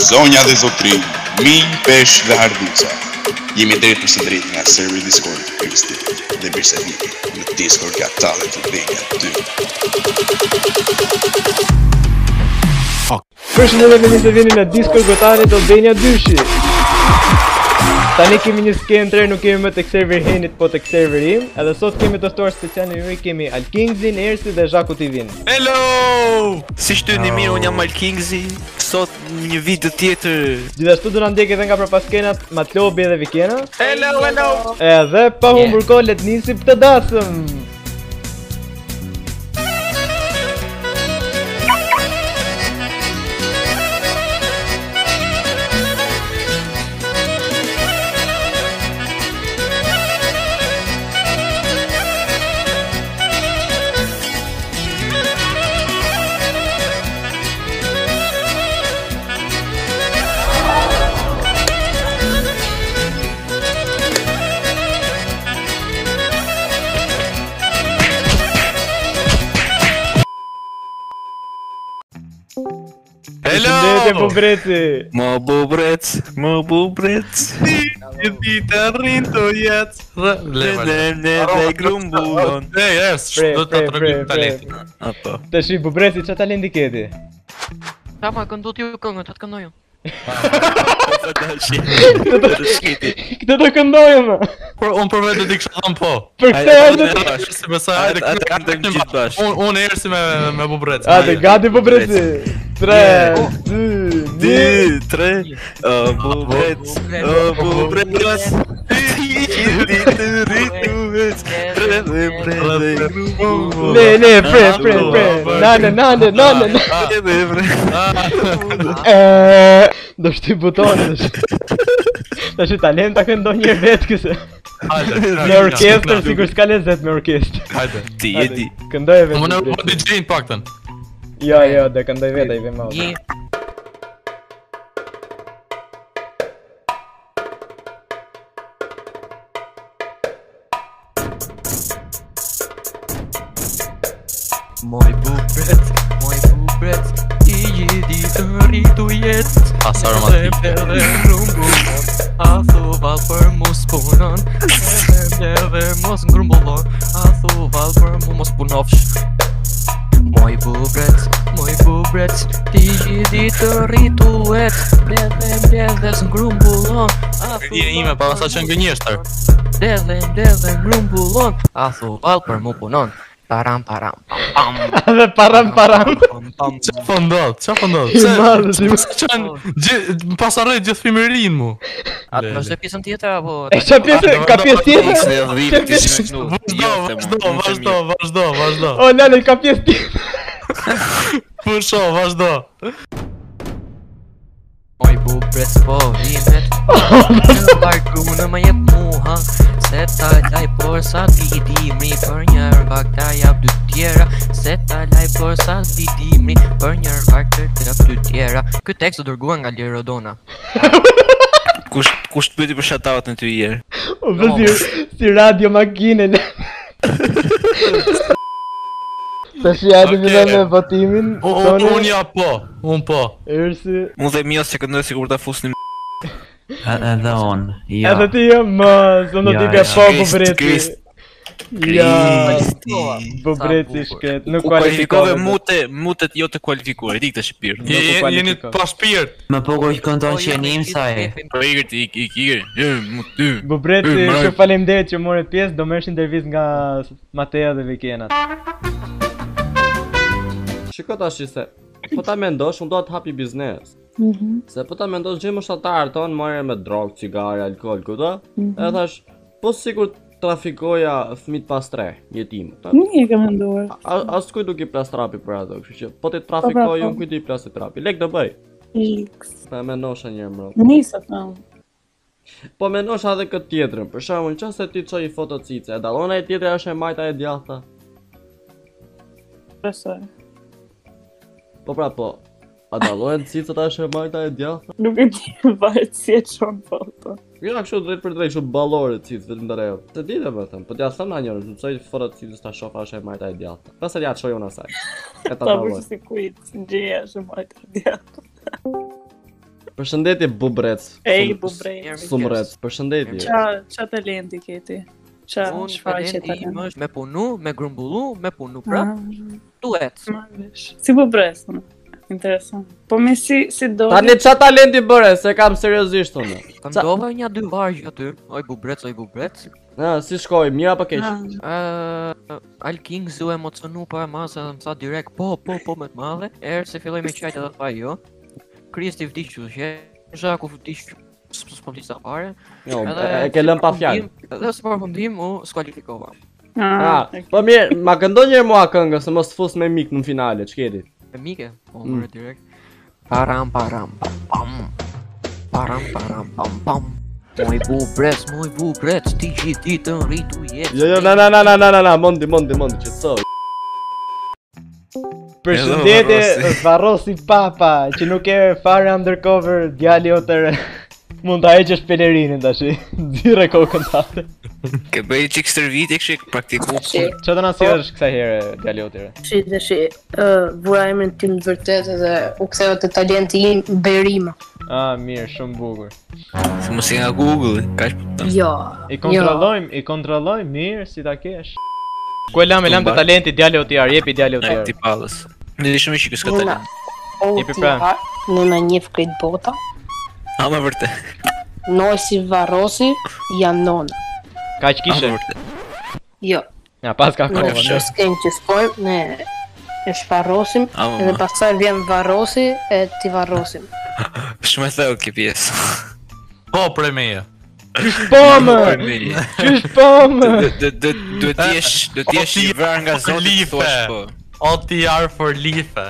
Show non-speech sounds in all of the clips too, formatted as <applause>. Zonja dhe zotrin, mi, pesh dhe harduca. Jemi drejt për së drejt nga server Discord, Kristi dhe Birsaniki në Discord ka talent të vega 2. Përshëndetje me një se vini në Discord Gotani do Albania dyshi Tani kemi një skenë tre, nuk kemi më tek server Henit, po tek server im Edhe sot kemi të ftuar special në juve, kemi Alkingzin, Ersi dhe Zhaku TV-n Hello! Si shty një mirë, unë jam Mal Kingzi Sot një video tjetër Gjithashtu do na ndjek edhe nga propaskenat Matlobi edhe Vikena Hello, hello! Edhe pa humbur kohë le të nisim këtë dasëm Përshëndetje po Hello! breci Më bubrec, më bubrec Një ditë arrin të jetë Dhe dhe dhe dhe grumbullon E, yes, Pre, do pre, të tregoj pre, talentin. Apo Të shi, po breci, që talenti keti? Ta ma këndu t'ju këngën, të të këndoj unë. Po të shkiti Po të shkiti Këtë do këndojë më Por unë për vetë do t'i kisha thënë po. Për Ai- këtë ai- e të... ai- Tash. Ersi me sa Atë- atë këndojmë Unë- gjithë bashkë. Unë unë ersi me me Oh, bubrec. A, të gati po breci 3, 2, 1 Dy, tre O bubrec, o bubrec Një ditë rrituvec Tre dhe bre dhe grumbullon Ne, ne, pre, pre, Apo, pre apo, Nane, nane, nane, nane Tre dhe bre E, Do shty butonin. Do shty talent ta këndo një vetë këse. Me orkestrë sikur s'ka lezet me orkestrë. Hajde. Ti e di Këndoj Unë vetë. më po po drejtë. DJ-in paktën. Jo, jo, do këndoj vetë ai vëmë. Gje, Moj bubret, moj bubret I jedi të rritu jetë Pas Dhe aromatik. bleve grumbullon A thuval për mu s'punon Dhe bleve mos ngrumbullon A thuval për mu mos punofsh Moj bubret, moj bubret Ti jedi të rritu jetë Bleve bleve s'ngrumbullon A Një Ah, ime para sa që ngënjesh tër. Bleve bleve ngrumbullon A thuval për mu punon Param param Edhe param param. Pam pam Çfarë po ndodh? Çfarë po ndodh? I Pse? madh, si mos. Pse çan gjë pas arroj gjithë fëmijërin mu. atë Le, vazhdoj pjesën tjetër apo... E é çfarë pjesë? Ka X pjesë tjetër? në Çe dhvit ti si me knu. Vazhdo, é vazhdo, vazhdo, vazhdo, vazhdo. O nane, ka pjesë tjetër. Pusho, vazhdo. Moj bubret po vimet Në barkunë më jep muha Se ta laj por sa ti dimri Për një rëvak ta jap dy tjera Se ta laj por sa ti dimri Për një rëvak të të jap dy tjera Ky tekst do dërguar nga Lirodona Kush kush të pyeti për shataut në ty ier? O vëzir, Po, si radio makine. Tash ja të Okej. fillojmë me votimin. Unë un ja po, unë po. Ersi. Unë dhe Mio se këndoj sikur ta fusnim. Edhe on, ja. Edhe ti jo, më, zë do Ja, ti ka ja. po Krist, bubreti. Krist, Ja, Sa po. bubreti bukur. Po, shket, nuk U kualifikove kualifikove. mute, mutet jo të kualifikuar. Dik tash pir. Je- je- Jeni pa shpirt. Më po kur këndon që jeni imsaj. Po ikër ti ik ik ikër. Je mut ty. Bubreti, Ej, mbroj. ju faleminderit që morët pjesë, do merresh intervistë nga s- Matea dhe Vikenat. Shiko tash se po ta mendosh, unë do të hapi biznes. Mhm. Se po ta mendosh gjë më shtatarë tonë marrë me drogë, cigare, alkool, këto. Mhm. E thash, po sikur trafikoja fëmit pas tre, jetim. Ta- Mirë ke menduar. a- As kuj duke i plas trapi për ato, kështu që po ti trafikoj, po. unë kujt i plas i trapi. Lek do bëj. X. Pa e mendosha një mbrëm. Nisë të nëmë. Po mendosha edhe këtë tjetrën. Për shembull, nëse ti çoj i fotocice, e dallon ai tjetra është e majta e djathta. Besoj. Po pra po. A dallohen cicët është e majta e djathta? Nuk e di <laughs> varet si e qonë foto. Ja, kështu drejt për drejt, kështu ballore cicë vetëm ndëreu. Të jo. di dhe më thëmë, po t'ja thëmë na njërë, më mësoj fotot cicës ta shofa është e majta e djathta. Pastaj ja çoj unë asaj. E ta Ta bërë dalloj. si kujtë, në gjeja është e majtë djatë. Përshëndetje bubrec. Ej, Sum- bubre. Sumrec. Përshëndetje. Qa, qa talenti keti? Qa, Unë shfaqe talenti im talenti? është me punu, me grumbullu, me punu prap, duhet. Si bubre, thonë. Interesant. Po me si, si do... Tani ç'a talenti bëre, se kam seriozisht unë. Kam Ca- dova një dy vargj aty, oj bubrec, oj bubrec. Na, si shkoi, mirë apo keq? Ah, Uh, Al Kings u emocionu para masa dhe më tha direkt po po po me të madhe Erë se filloj <laughs> me qajtë edhe tha jo Kristi vdishqu që Zhaku vdishqu s'p- S'po më disa fare Jo, Edhe e ke lënë pa për fjalë. fundim- Edhe se për fundim u skualifikova ah, Ah, po mirë, ma këndo një mua këngën se mos të fus me mik në finale, ç'keti? E mike, po Mm. më mm. direkt Param param pam pam Param param pam pam Moj bu brec, moj bu brec, ti gjithë ditën rritu jetë Jo, jo, na na na na na na, na, mondi, mondi, mondi, që të soj. Përshëndetje Varrosi Papa, që nuk e fare undercover djali o tërë. Mund ta heqësh pelerinin tash. <laughs> Zire kokën tatë. Ke bëj çik stërvitje kështu e ke praktikuar. Çfarë do na sjellësh kësaj herë djali o tërë? Shi dhe shi, uh, vura emrin tim të vërtet edhe u ktheu te talenti im Berima. Ah, mirë, shumë bukur. Se mos e nga Google, kaq po të Jo. I kontrollojmë, i kontrollojmë mirë si ta kesh. Ku e lam, e lam të Mbar. talenti djali o tërë, jepi djali o na ti tërë. pallës. Ne di shumë që ky s'ka Una. talent. O Jepi ti pra. ha, në në njef krejt bota, A më vërtet. Noisi Varrosi janë nona. A më Kaq kishe. vërtet. Jo, Ja, pas ka ne kohë. ne. shkojmë që shkojmë, ne e shvarrosim, A më edhe pastaj vjen Varrosi e ti varrosim. Shumë e thellë kjo pjesë. Po prej meje. Qysh po më? Prej meje. Qysh po më? Do- do- do- Do <laughs> të jesh, do të jesh O, ti i vrarë nga Zoti të life. thuash po. OTR for life.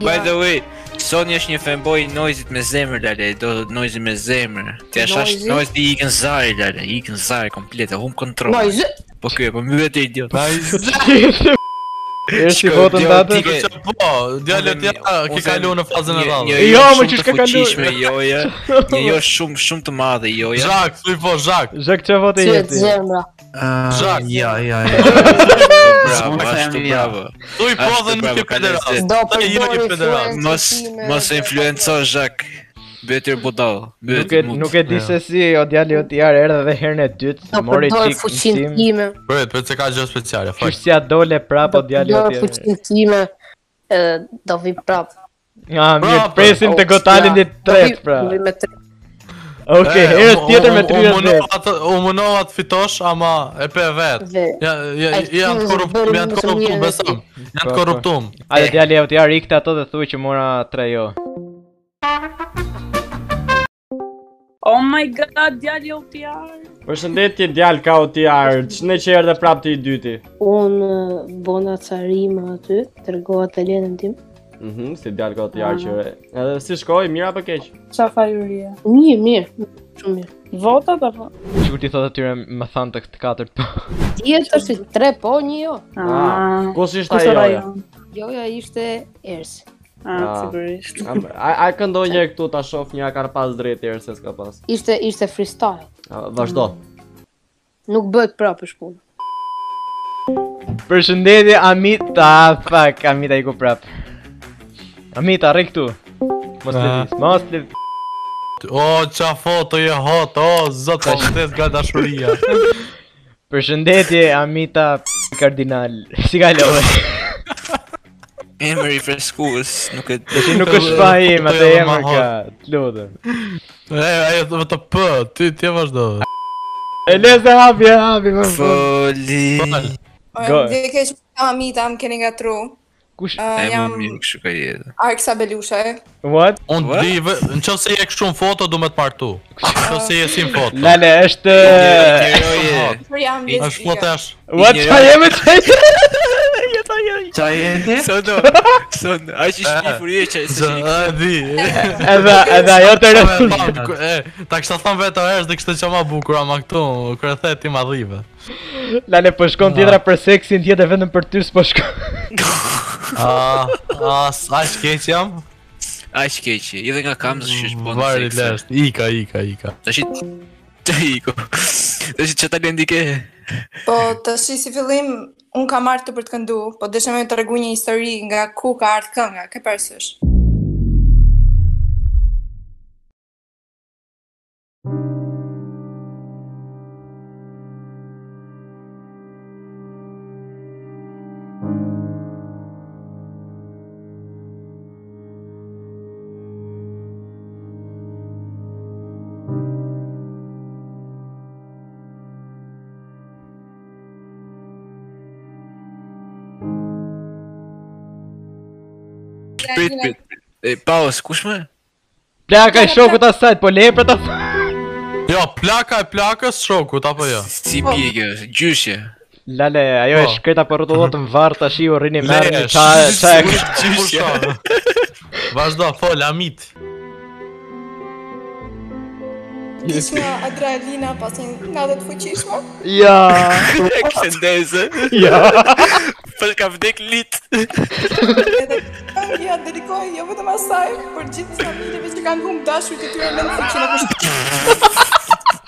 By the way, Sony është një fanboy i noizit me zemër lale, do noizit me zemër. Ti është as Noizi? noizi i ikën zari lale, i ikën zari komplet, e hum kontroll. Noiz, Po ky, po mbyet e idiot. <laughs> Erë si Shko, votën djali, datë? ti ke- Që po, djallet ja ke Unë- kalu në fazën e Një- radhë. një Jo, jo më shumë që të s'ka kalu. fuqishme joja, një jo shumë shumë të madhe joja. Zhak, thuj po Zhak. Zhek që vote çet jeti? zemra. Ah, Zhak. Ja, ja, <laughs> ja. Bravo, s'mund të them ashtu jo. bravo. Thuj po Ashtu, dhe nuk bravo, e pederast. kalezi. Do Ai, jo, përdor i federal. influencën Mos time mos e dhe- influenco Zhak. Betyr budall. Nuk e, Betyr mut. nuk e di se si o djali o tjarë erdhe dhe herën e Do dytë Mori përdor qik fuqin mësim time. Bëhet, për se ka gjë speciale, fakt. Qysh si a dole prap o djali o Do tjarë fuqin time. e, Do vi prap. A, mirë, Prapë. presim të Oh, gotalin ja. dit tret pra Do vi me tre. Oke, herës tjetër me Eh, U tryra munova tret të- U munova të fitosh, ama e pe vetë. Dhe Ja, ja, Ai, janë s'u korruptum, zbëri janë mësë korruptum, mirë, besëm. Janë Po, po. korruptum. Eh. Ajde djali o tjarë ikte ato dhe thuj që mora tre jo Oh my god, djali o PR. Përshëndetje djal ka u ti ardh, ne që erdhe prapë ti i dyti. unë e, bona carima aty, tregova talentin tim. Mhm, si djal ka u ti ardh Ah. që edhe si shkoi, mirë apo keq? Qa fajuria. Mirë, mirë, shumë mirë. Votat apo? Sigur ti thot atyre më thanë të këtë katër po Tjetër si tre po, një jo. Ah, Ah, Kush ishte kusht ajo? ja? rajon? Joja ishte Ersi. Ah, Ah. sigurisht. Am- A a këndoj një këtu ta shoh një a ka pas drejtë erë se s'ka pas. Ishte ishte freestyle. A, Vazhdo. Nuk bëhet prapë shpunë. Përshëndetje Amita, fuck, Amita i ku prap Amita, rri këtu Mos Ah. lëviz, mos lëviz O, qa foto je hot, o, zot, ka shtes nga dashuria. <laughs> Përshëndetje Amita Kardinal <laughs> Si ka love? Emri i freskues, nuk e di. Që nuk është fa im, atë emër ka, të lutëm. E, ajo të të p, ti, ti e vazhdo. E lese hapi, hapi, më më. Foli. Fol. Po, Go. Dhe keq jam Amita, më keni gatru. Kush? E më mirë kështu ka jetë. Arksa Belushe. What? Unë di, vë- në qëfë se je këshu në foto, du me të martu. Në qëfë se je si në foto. Lale, është... Heroje. Për jam është flotesh. What? Një- Qa jemi të <laughs> Qa <laughs> jeti? Sono, sono, ai që shpifur je që se Zë, e, di. Edhe, edhe ajo të rëfë. E, ta kështa thamë vetë o erës dhe kështë që ma bukur, ama këtu, kërë the ti ma dhive. Lale, po shkon tjetra për seksin, tjetër vetëm për ty s'po shkon. A, a, s- a shkeq jam? ai që keqi, edhe nga kamzë që është bon. Mm, Vari lësht, ika, ika, ika. Tash të iko. Tash çfarë talenti ke? Po të shi si fillim, unë kam marrë të për të këndu, po desha me të regu një histori nga ku ka ardhë kënga, ke përsysh. prit, prit. E, paus, kush më? Plaka e shokut asajt, po leprat asajt. Jo, plaka e plakës shokut apo jo? Si bie kjo? Gjyshje. Lale, ajo e shkreta po për rrotullot në varë tash i u rrini Le, merë një sh- qa e qa e sh- Gjyshje. Vazhdo, fol, amit. Ishma adrenalina, pasaj nga dhe të fuqishme. <laughs> Ja. Kështë ndezë. Ja. Për ka vdek lit. Edhe këngja dedikohi jo vetëm asaj, por gjithë familjeve që kanë humbur dashur të tyre në fuqi në kushtë.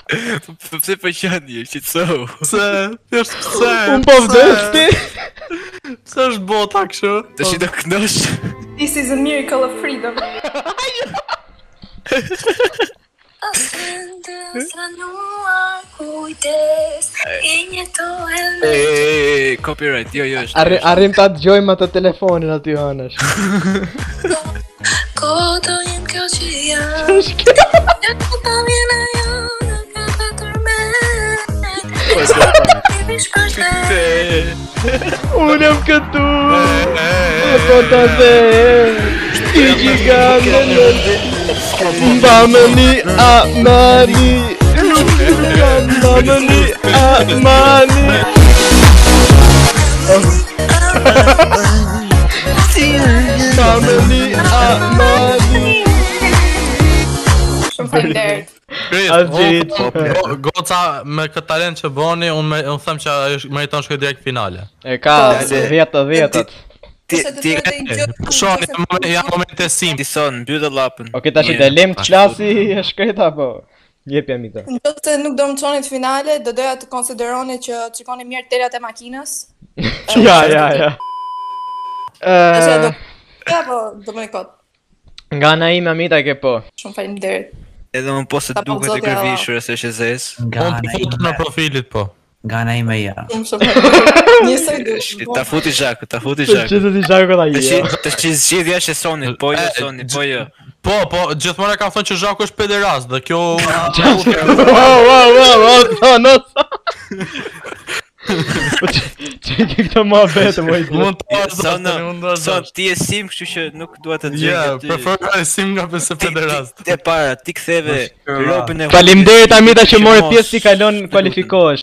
<laughs> Pse po për qëndje, qëtësohu. Pse, thjesht pse. Unë po pse? vdes ti. Pse është bota kështu? Të shi do kënosh. This is a miracle of freedom. E, e, e, copyright, jo, jo, është. Arri- Arrim ta dëgjojmë atë telefonin aty hënësh. <laughs> <laughs> Unë jam këtu. E po ta dhe. Ti gjigande në Mba më një amani Mba më një amani Mba më një amani Shumë faleminderit. Krit, Asgjit. unë- go- po, Goca me këtë talent që bëni, unë me- unë them që ajo sh- meriton shkoj direkt finale. E ka dhjetë dhjetët Ti, Ose do ti, të thotë i gjatë. Shoni, moment- janë momente sim. ti son, mbyllë lapën. Oke tash i Mirë, delim bashkë. klasi e shkreta po Jep jam i të Në të nuk do më qonit finale, do doja të konsideroni që qikoni mirë terat e makinës. Ja, ja, ja Ashe E, do... Ja, po, do më një kotë. Nga na ime amita ke po Shumë faleminderit. Edhe unë po se Ta duket e pozotja, kërvishur, se është e zez. Unë po të Gana foto në ime, profilit po. gana ime ja. Shumë shumë <laughs> faleminderit. Njësoj du. Shkri, Ta futi zhaku, ta futi zhaku. Që të ti shako këta Jo. Të shi, po i të shi zgjidhja është e sonit, po jo, sonit, po jo. Po, po, gjithmonë e kam thënë që Zhaku është pederast dhe kjo <laughs> Wow, wow, wow, wow, sa, no, sa Po që që i ke këta ma betë, moj të mund të vazhdo, Son, mund të vazhdo. son, ti e sim, kështu që nuk dua të gjej. Ja, preferoj sim nga pse Ti- pederast. Ti e para, ti ktheve ropën e Faleminderit Amita që morë mos- pjesë si kalon kualifikohesh.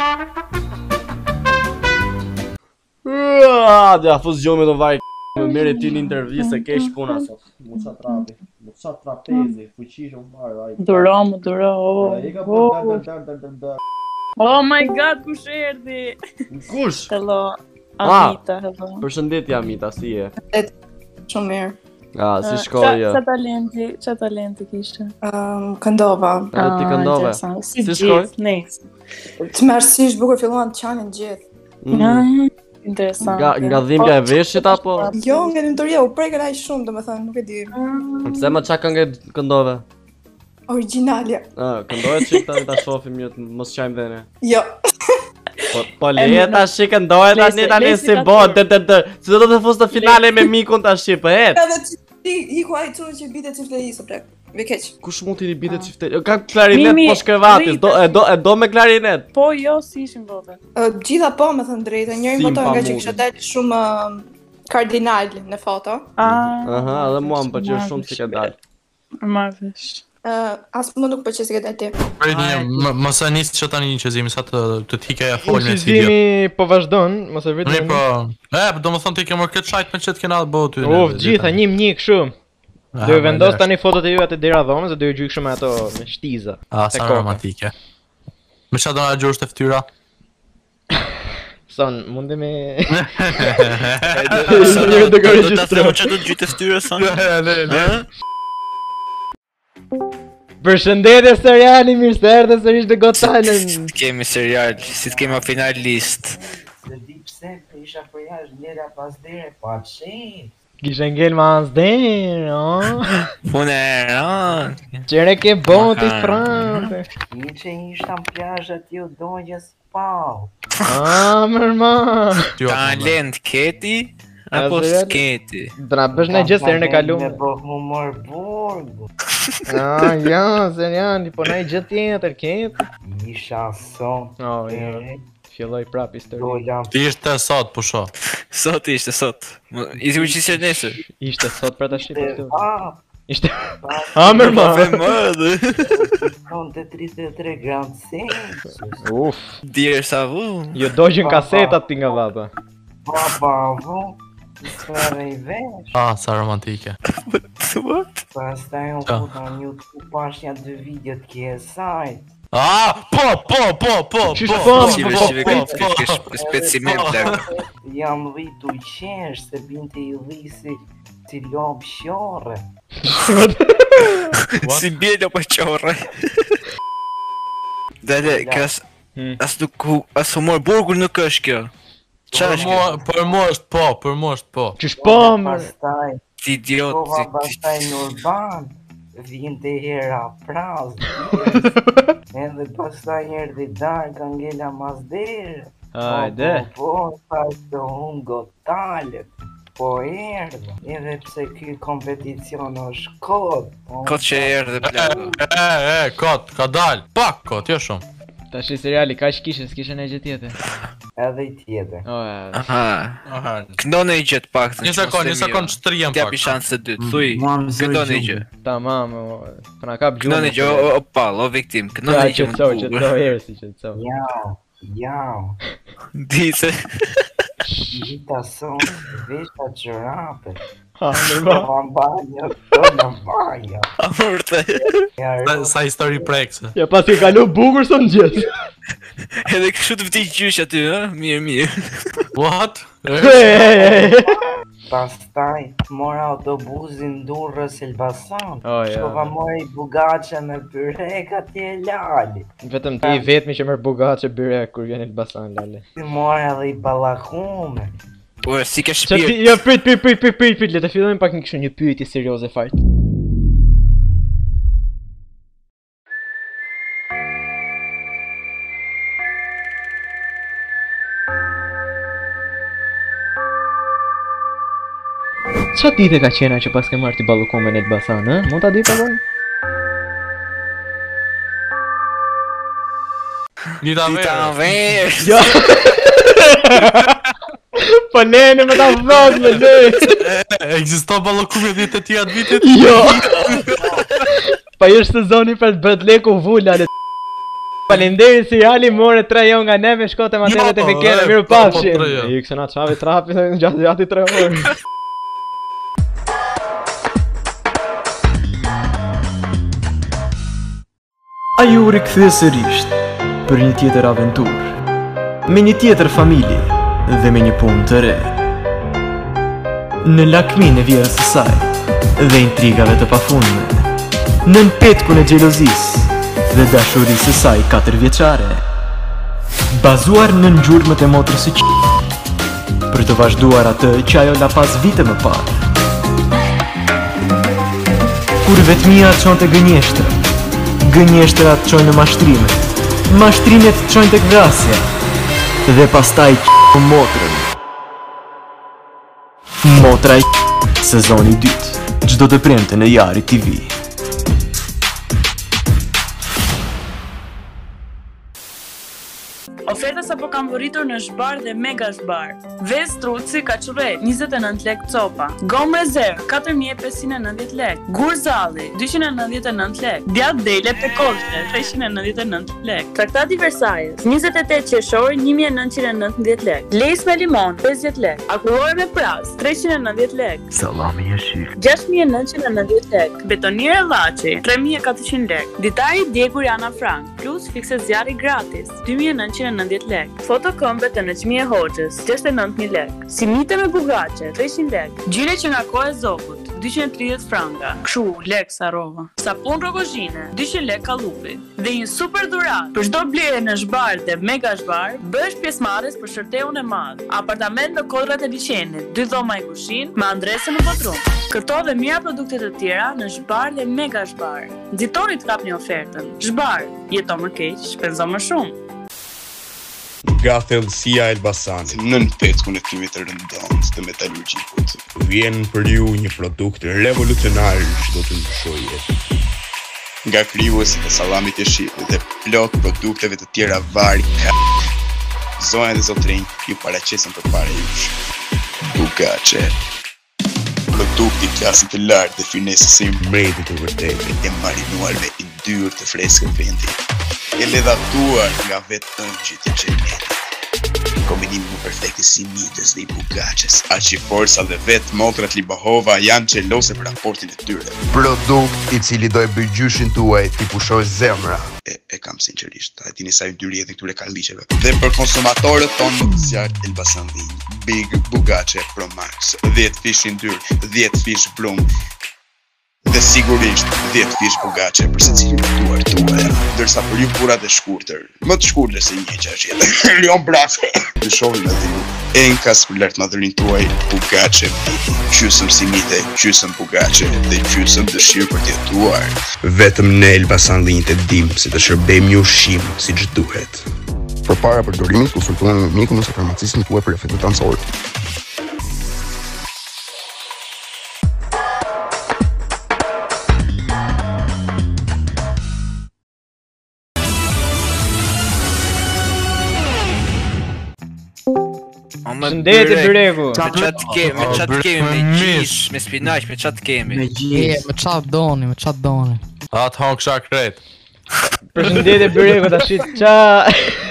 Ua, Dhe a fus gjomi të vaj Më meri ti një intervjisë e kesh puna sot Mu qa trapi Mu qa trapezi Fuqish më marë vaj Duro, më duro, oh, E ka po oh, dar dar dar dar dar oh my god, kush erdi? Kush? Hello, Ah. Amita, hello. Përshëndetje Amita, si je? Shumë mirë. A, si Eh, shkoj qa- jo? Qa talenti, qa talenti kishte? Um, këndova. A, ti Ah, këndove? interesant. Si Si shkoj? shkoj? Nice. Të merë si ishtë bukur filluan të qanin gjithë. Mm. Ah, Po. Interesant. Nga, nga dhimbja e veshit apo? Jo, nga njëmëtoria u prekën ai shumë, domethënë, nuk e di. Ah. Pse më qa këngë këndove? Originalja. A, këndove që tani ta shohim ju të mos qajmë dhe ne Jo. Po, po leje tash që këndove tani Lesi- tani lesi si ka bo thënë. Dë dë dë Si do të fus të finale me mikun tash po het Edhe që ti iku ai çunë që bitet çifte i së prek. Ve keq. Kush mund t'i bitet çiftet? Ka klarinet Mimi, poshtë krevatis, do e do e do me klarinet. Po jo, si ishin votat? Ë, Gjitha po me thënë drejtë, njëri Sim, pa voton nga që mundin. kisha dalë shumë ë, kardinal në foto. Ah, Aha, edhe mua po më pëlqeu marrë shumë si ka vesh. dalë. Marrë vesh. Ë, as më nuk pëlqej se ke dalë ti. Prit një, më- mos e nis që tani një qezim, sa të të t'hike ja fol me si gjë. Ushqimi po vazhdon, mos e Mirë vritni. po. E, do më thonë ti ke mërë këtë shajt me çet kena bëu ty. Uf, gjitha një një kështu. Aha, Do ju vendos vale. tani fotot e juaja te dera dhomës dhe do ju gjyj kështu me ato me shtiza. Ah, A, Te Ah, sa koka. romantike. Me çfarë do na gjosh të <laughs> fytyra? Son, mundi me <laughs> Një do Do ka ta regjistruar. them që do të gjyte fytyrë son. Ëh? Përshëndetje seriali, mirë se erdhe sërish te Got Talent. Të kemi serial, si të kemi finalist. Kishe ngel me ans den, o. Unë e ran. Çere ke bon ti Mhm. frante. Ah, mërma. Ty, apo, me- Talent keti apo A, serial? sketi? Do na bësh në gjithë serën e kaluar. <laughs> Ah, ja, seriali, po na i gjithë tjetër ket. Një shanson. Oh, ja. filloj prap histori. Ti ishte sot, po pusho. Sot ishte sot. Më- I thimi që ishte nesër. Ishte sot për tash këtu. Ishte <laughs> Hammer ma. Sonte 33 gram sinç. Uf. Dear Savu. Jo dojën kasetat ti nga vapa. Babavu. Sërë i vesh. Ah, sa romantike. What? Pastaj unë Qa? puta në YouTube pash një dy videot kje e sajt. Ah, po, po, po, po, Qysh po, po, po, po, po, po, po, po, po, po, po, <laughs> specimen plak. Jam rritu i qesh se binte i rrisi si lopë shore. <laughs> Si bjelo pa <laughs> qorre. Dale, kas... Hmm. As nuk... hu- As humor burgur nuk është kjo. Qa Për është mua, për mua është po, për mua është po. Qysh Pastaj, Ti idiot, Kova ti- pastaj në urban, vinte hera <laughs> praz, edhe pastaj erdi darka ngela mazderë. Ajde. Po, po, thash të unë gotalet. Po erdhë, edhe pse ky kompeticion është kod. po Kot që erdhe plak. E, e, kot, ka dal. Pak kot, jo shumë. <laughs> Tash i seriali kaq kishin, s'kishin asgjë tjetër. Edhe i tjetër. Aha. Këndone i gjët pak. Një sekond, një sekond, shtrijem pak. T'japi shansë të Mm. Mm, dytë, thuj. Këndone i gjë. Tamam, o, po na kap gjumë. Këndone i gjë, jo, o, o pal, o viktim. Këndone Ja, i gjë më qëtësoj, të bukur. qëtësoj, erës i qëtësoj. Ja, ja. Dice. Gjita son, veshta gjërape. Ha, ba. Po banjo, po në banjo. A vërte. Sa- Sa histori prekse. Ja pas ke kalu bukur së më gjithë. Edhe kështu të vdi gjysh aty, ë? Mirë, mirë. What? Pastaj mora autobusin Durrës Elbasan. O, ja. Shkova mori bugaçe me pyrek atje e lali. Vetëm ti i vetmi që merë bugatë që byre kur vjen Elbasan, lale. Ti mora edhe i ballakume. Po si ke Që ti, ja prit, prit, prit, prit, prit, prit, le të fillojmë pak një kështu një pyetje serioze fajt. Qa dite ka qena që pas ke marrë ti ballukume në Elbasan, ë? Mund ta di pallon? Dita verë. Dita verë. Jo. <laughs> Po lene me ta vëzë me <laughs> lejë Egzisto ballokumi ditë të tjera të vitit? Jo. <laughs> Pa është Jo. Po sezoni për të bët leku vulla le Falemderi si Ali more 3 jo nga neve shkote ma Jo, teve po, të fikere miru pafshin I këse na qavi trapi dhe gjatë gjatë i 3 orë A ju rikthe sërish për një tjetër aventurë, me një tjetër familje dhe me një punë të re. Në lakmin e vjerës së saj dhe intrigave të pafundme, në petkun e xhelozisë dhe dashurisë së saj katër vjeçare. Bazuar në ngjurmët e motrës së q... për të vazhduar atë që ajo la pas vite më parë. Kur vetmia çonte gënjeshtra, gënjeshtrat çojnë në mashtrime, mashtrimet çojnë tek vrasja, dhe pastaj q**u motrën. Motra i q**, sezoni i dytë, çdo të premte në Jari TV. Oferta sa po kam vëritur në shbar dhe mega shbar. Ves truci ka qëve 29 lek copa. Gom rezerv 4590 lek. Gurzalli 299 lek. Djat dele pe kolshe 399 lek. Traktati Versailles 28 qershor 1919 lek. Lejs me limon 50 lek. Akullore me pras 390 lek. Salami e shik. 6.990 lek, betonire Llaçi 3.400 lek, ditari Djegur Jana Frank, plus fikse zjarri gratis 2.990 lek, fotokëmbet të në e hoqës 69.000 lek, simite me bugace 300 lek, gjyre që nga kohë e zokut 230 franga, këshu lek sarova, sapun rogozhine 200 lek kalupi, dhe një super dhurat për çdo blerje në shbar dhe mega shbar, bësh pjesëmarrës për shërteun e madh, apartament në kodrat e liçenit, dy dhoma e kushin me andresën në botrum. Këto dhe mira produkte të tjera në Zhbar dhe Mega Zhbar. Nxitoni të kapni ofertën. Zhbar, jeto më keq, shpenzo më shumë. Nga thellësia e Elbasanit, nën peckun e kimit të rëndonës të metalurgjikut, vjen për ju një produkt revolucionar që do të ndryshojë jetën. Nga kryuesit e sallamit e shqipit dhe plot produkteve të tjera vari ka zonja dhe zotrinj ju paraqesin përpara jush. Bukaçe. Më dukti klasin të lartë dhe finesës e mbreti të vërtetë e marinuar me yndyrë të freskët vendi. E ledhatuar nga vetë ëngjit e qenetit. Kombinimi më perfekt i simidës dhe i bukaçes, aq që forca dhe vetë motrat Libahova janë xhelose për raportin e tyre. Produkt i cili do e bëj gjyshin tuaj ti pushoj zemra. E, e kam sinqerisht, a e dini sa yndyrë jetën këtyre kalliqeve. Dhe për konsumatorët tonë më të zjarrt Elbasan Vin, Big Bugaçe Pro Max, 10 fish yndyrë, 10 fish blum, dhe sigurisht 10 fish bugaçe për secilin e tuar tuaja, ndërsa për ju burat e shkurtër, më të shkurtër se një çash jetë. <laughs> Lion Brak. Ju shohim atë ju. Enkas për lart madhërin tuaj bugaçe. Qysëm si mite, qysëm bugaçe dhe qysëm dëshirë për të jetuar. Vetëm ne Elbasan linjët e dim se të shërbejmë një ushqim siç duhet. Përpara përdorimit konsultoheni me mikun ose farmacistin tuaj për efektet anësore. Shëndetje Byreku. Me çat kemi, me çat kemi, me gjish, me spinaq, me çat kemi. Me Je, me çat doni, me çat doni. Atë hong shak kret. Përshëndetje Byreku tash ça.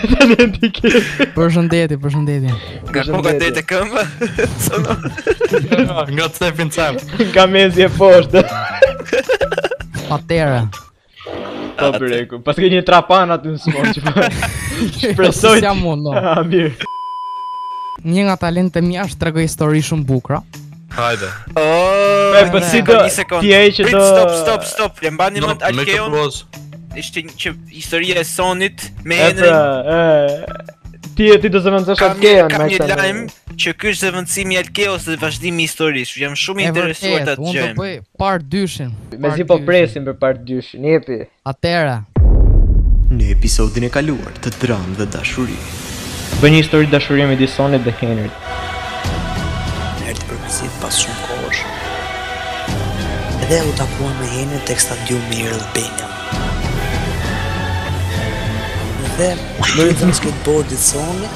<laughs> Përshëndetje, përshëndetje. Nga koka deri te <laughs> këmbë. sono. <laughs> Nga Stefin Cem. Nga mezi e poshtë. Patera. Po Byreku, pas ke një trapan aty në smor <laughs> që po. Shpresoj. S'jam unë, no. Ah, mirë. Një nga talentet mia është tregoj histori shumë bukura. Hajde. Oh, E, po si do- ti e që Prit, do- Stop, stop, stop. Le mbani No, mend me Alkeon. këtë pros. Ishte një- që historia e Sonit me E pra, Henrin. e. Ti ti do zëvendësosh Kam një, atkeen kam me një këtë. lajm që ky është zëvendësimi i Alkeos dhe vazhdimi i historisë. Jam shumë i interesuar po ta unë do dëgjoj. bëj part dyshin. Mezi po presim për part 2, jepi. Atëra. Në episodin e kaluar të dramë dhe dashuri, Bë një histori dashurie me Disonit dhe Henryt. Erdi përmësit pas shumë kohësh. Edhe u takua me Henin tek stadiumi i Albania. Dhe bëri të skateboardit soni,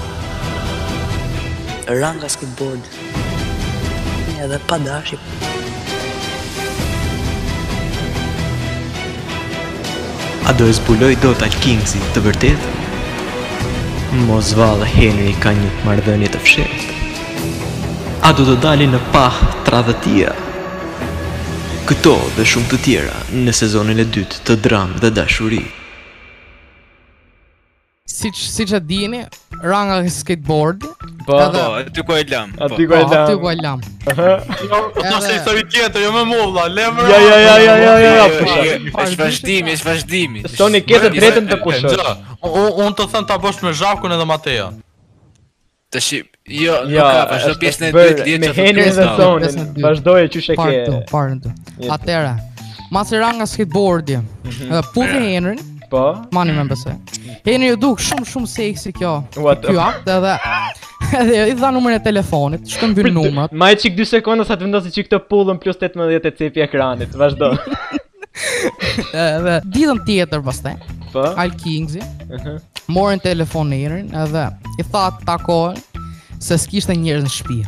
ra nga skateboard. Edhe pa dashi. a do e zbuloj do të Kingsi të vërtet? Mozval dhe Henry ka një mardhënje të fshetë. A do të dalin në pah tradhëtia? Këto dhe shumë të tjera në sezonin e dytë të dramë dhe dashuri. Siç siç e dini, ra nga skateboardi. Po, edhe- aty ku e lam. Jo, Po, Aty ku e lam. Do se histori tjetër, jo më movlla, le më. Ja, ja, ja, ja, ja, ja, ja, pusha. Është vazhdimi, është vazhdimi. Soni ke të drejtën të E, pushosh. nxë, u- Unë të thënë ta bësh me Zhavkun edhe Mateja. Të shqip, jo, nuk Ja, ka, vazhdo është pjesën e bërë dytë, lirë me që Henrin dhe Sonin. Pjesën e dytë. Vazhdoje qysh e Part ke. two, part two. Jepi. Atëra. Mas i ra nga skateboardi. Mhm. Edhe puthi Henrin. Po. Mani më besoj. Henri ju duk shumë shumë seksi kjo. What Ky the- akt edhe edhe i dha numrin e telefonit, shkon mbyll numrat. Ma e qik 2 sekonda sa të vendosi që këtë pullën plus 18 e cepi ekranit, vazhdo. Edhe ditën tjetër pastaj. Po. Al Kingsi. Morën telefon Henrin edhe i tha të takohen se s'kishte njerëz në shtëpi.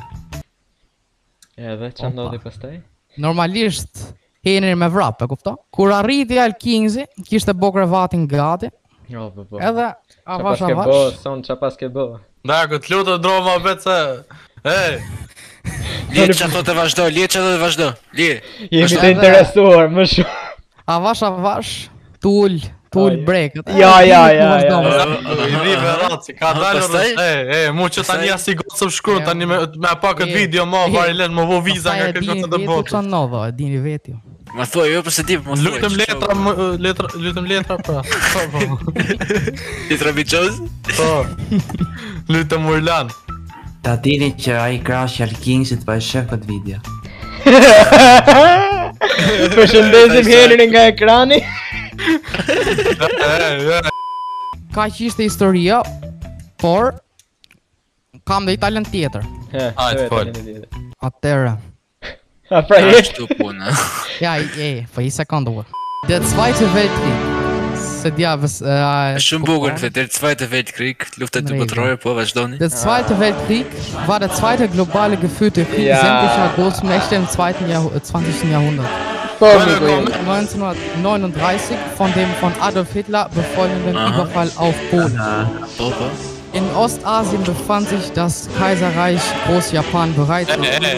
Edhe ç'a ndodhi pastaj? Normalisht Henri me vrap, e kupton? Kur arriti Al Kingsi, kishte bo kravatin gati. Jo, po po. Edhe avash Çfarë avash. ke bë, son ç'a pas ke bë? Da, këtë lutë të droma vetë se... Ej! Lirë që ato të vazhdo, lirë që ato të vazhdo, lirë. Jemi Është të edhe- interesuar më shumë. Avash avash. Tul, tul breket. Ja, ja, ja, Vazhdo, ja. vazhdo. I rive raci, ka Aha, dalë pastaj? rrës, e, e, mu që tani Pastaj? ja si gocëm shkru, tani me, me pa këtë video ma, vari len, më vo viza Pastaj nga e këtë dini gocë të vetë bokë. çfarë ndodha, e dini vetë. ju. Më thuaj, jo, përse di, më thuaj. Lutëm letra, më, ë, letra, lutëm letra, pra. Po, po. Letra biqoz? Po. Lutëm urlan. Ta dini që ai krashi Alkingsit pa e shef këtë video. Përshëndesim Henrin nga ekrani. Ka që ishte historia, por kam dhe i talent tjetër. Hajde, fol. Atëra. A pra je? <laughs> puna. po. Ja, e, po i sekondë u. That's why to Weltkrieg. së djavës. Uh, Shumë bukur këtë, der zweite Weltkrieg, lufta Në dy rregull. botërore, po vazhdoni. Der Zweite Weltkrieg war der zweite globale geführte Ah. Krieg Ja. sämtlicher großen Mächte im zweiten Jahrh 20. Jahrhundert. Komm, Wurde Miguel. 1939 von dem von Adolf Hitler befreundeten Aha. Überfall auf Polen. Opa. In Ostasien befand sich das Kaiserreich Großjapan bereits. Äh, im Juli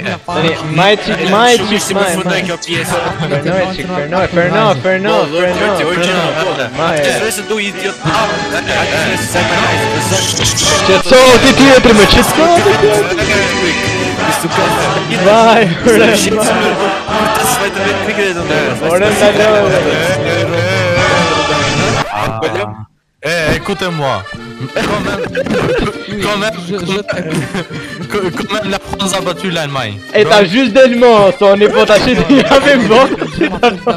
1939 Tani, majçik, majçik, si përfundoi kjo pjesë. Fernojçik, fernoj, fernoj, fernoj, fernoj. Atë s'e se do idiot. Atë s'e se më nice, më zot. Qetso ti tjetër me qetso ti tjetër. Vaj, ore, vaj. Atë s'e vetë vetë pikë do të. Ore, ndalove. Eh, écoutez-moi. Quand même, quand même, quand même la France a battu l'Allemagne. E ta gjysh del mo, soni po ta shit i japim votë si ta no.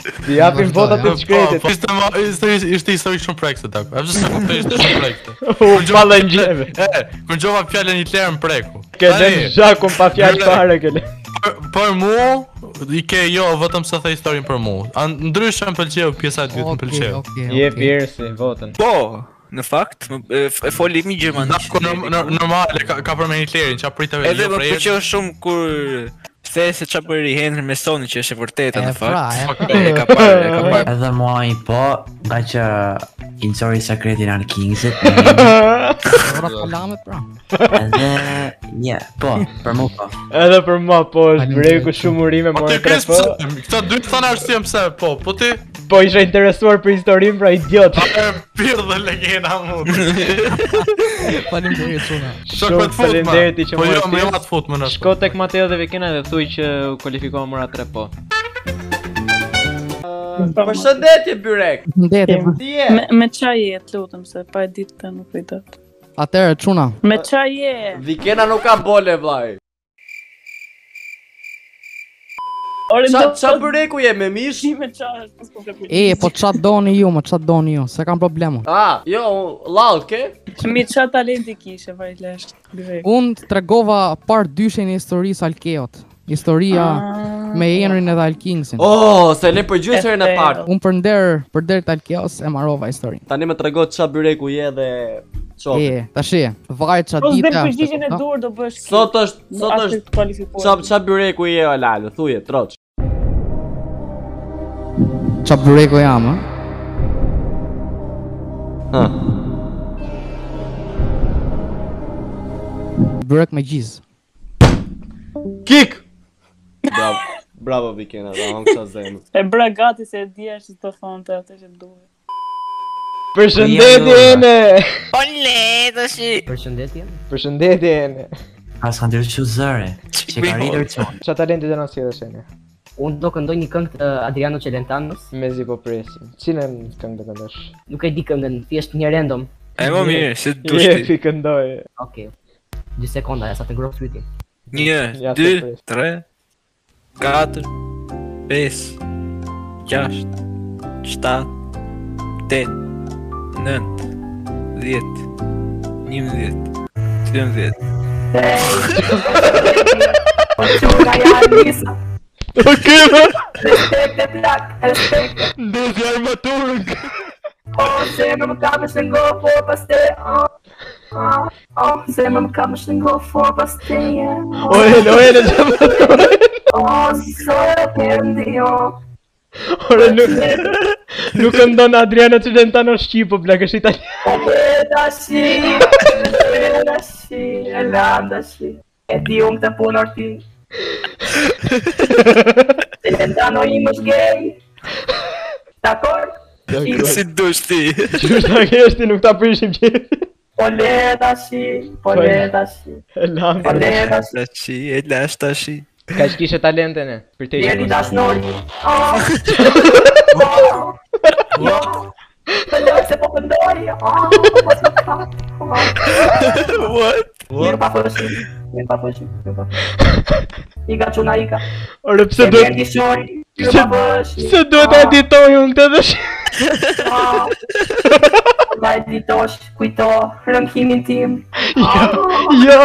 Ti japim votat të shkretit. Po, ishte ma- ishte ishte historik shumë prekse ta. E pse s'e kuptoj ishte shumë prekse. <laughs> U balla në gjeve. <laughs> E, kur gjova fjalën Hitler më preku. Ke Tani, dhe zhakun pa fjalë Bre. fare kële. për- Për mua, i ke jo vetëm se the historinë për mua. An- Ndryshe më pëlqeu pjesa e dytë, më pëlqeu. Jep Irsi votën. Po, në fakt, më- e f- e foli mi gjermanisht. Normale, ka, ka përmend Hitlerin, çfarë pritave Edhe jo më për erë. pëlqeu shumë kur the se çfarë bëri Henry me Sony që është e vërteta në fakt. pra, e Fuck, E ka parë, e ka parë. Edhe mua i po, nga që kinësori sekretin anë <laughs> kingësit Ora palamet pra. Edhe, një, po, për mu po Edhe për mua po është breku shumë urime morën Ti tre kres po. pse? Këta dy të thanë arsye pse, po, po ti Po isha interesuar për historinë pra idiot. pirë dhe legenda mund. <laughs> Faleminderit shumë. Shumë faleminderit ti që Po morë jo, më pjesë. jam atë fut më në. Shko tek Mateo dhe Vekena dhe thuj që u kualifikoa mora 3 po. Po Përshëndetje Byrek. Përshëndetje, po. Ti je? Me, me qa je, të lutem, se pa e ditë të nuk i dot. Atëherë çuna. Me Po, qa je? Vikena nuk ka bole vllai. Ore, Qa, do- qa Byreku je me mish? Me qa është, mos po flet. E, po ç'a doni ju, më ç'a doni ju, se kam problemun. Ah, jo, lall ke? Mi qa talenti kishe, vaj lesh. Unë tregova par dyshin e historisë Alkeot. Historia me Henrin edhe Alkingsin. Oh, se le përgjysë herën e parë. Unë përnder, përder të Alkeos e marrova historinë. Tani më trego qa Byreku je dhe E, çofi. tash e, vaj qa Po zbe dita përgjigjen e dur do bësh. Sot është, sot është Qa, është. qa Byreku je o lallë, thuje, troç. Qa bureko jam, ha? Ha. Burek me gjiz. Kik! Bravo, bravo Vikena, da hëm qa zemë. E bra gati se e dija që të thonë të atë që duhet. Ja, Përshëndetje ene. Ole, tash. Përshëndetje jo. Përshëndetje ene. Pas ka ndryshu zëre Që ka rritur qonë Qa talenti do na sjellësh ene? Unë do këndoj një këngë të Adriano Celentanos, Mezi po presim. Cilën këngë do të ndash? nuk e di këngën, thjesht një random. E më mirë, se dush Jepi ti. këndoj. Okej. Dy sekonda, ja sa të ngroh pyetjen. 1, Ja, 2, 3, surprise. 4, 5, 6, 7, 8, 9, 10, 11, 12. Nga ja Alisa. O këmë! Respekte plak, respekte. Ndezi armaturën. O, se më më ka më shëngo, po pas te, o. o, Ah, O, se më më ka më shëngo, po pas te, e. O ene, o ene, qa më O, so e përndi, o. Ore, nuk... Nuk këndon Adriano Cilentano Shqipo, plak është italian. Eda shi, eda shi, e landa shi. E di unë të punor <laughs> ti. Se të ndano i më shgej. Dakor? Si dush ti. Qysh ta kesh ti nuk ta prishim gjithë. Ole tashi, ole tashi. E lam. Ole tashi. Tashi, e lash tashi. Po Ka shkishe talente ne. Për te Oh. Jeni dashnoj. <laughs> Të lërë Oh. se po këndoj. Oh, po s'më ka. <laughs> What? Mirë pa fërshim. Mirë pa fërshim. Mirë pa fërshim. Ika quna ika. <laughs> Ore, pse Jemi duhet... endishori, mirë Pse, pa Ah. fërshim. pse duhet ta editoj unë këtë dhe shi... Ah, La editosh, kujto, rënkimin tim. Ah. <laughs> Jo,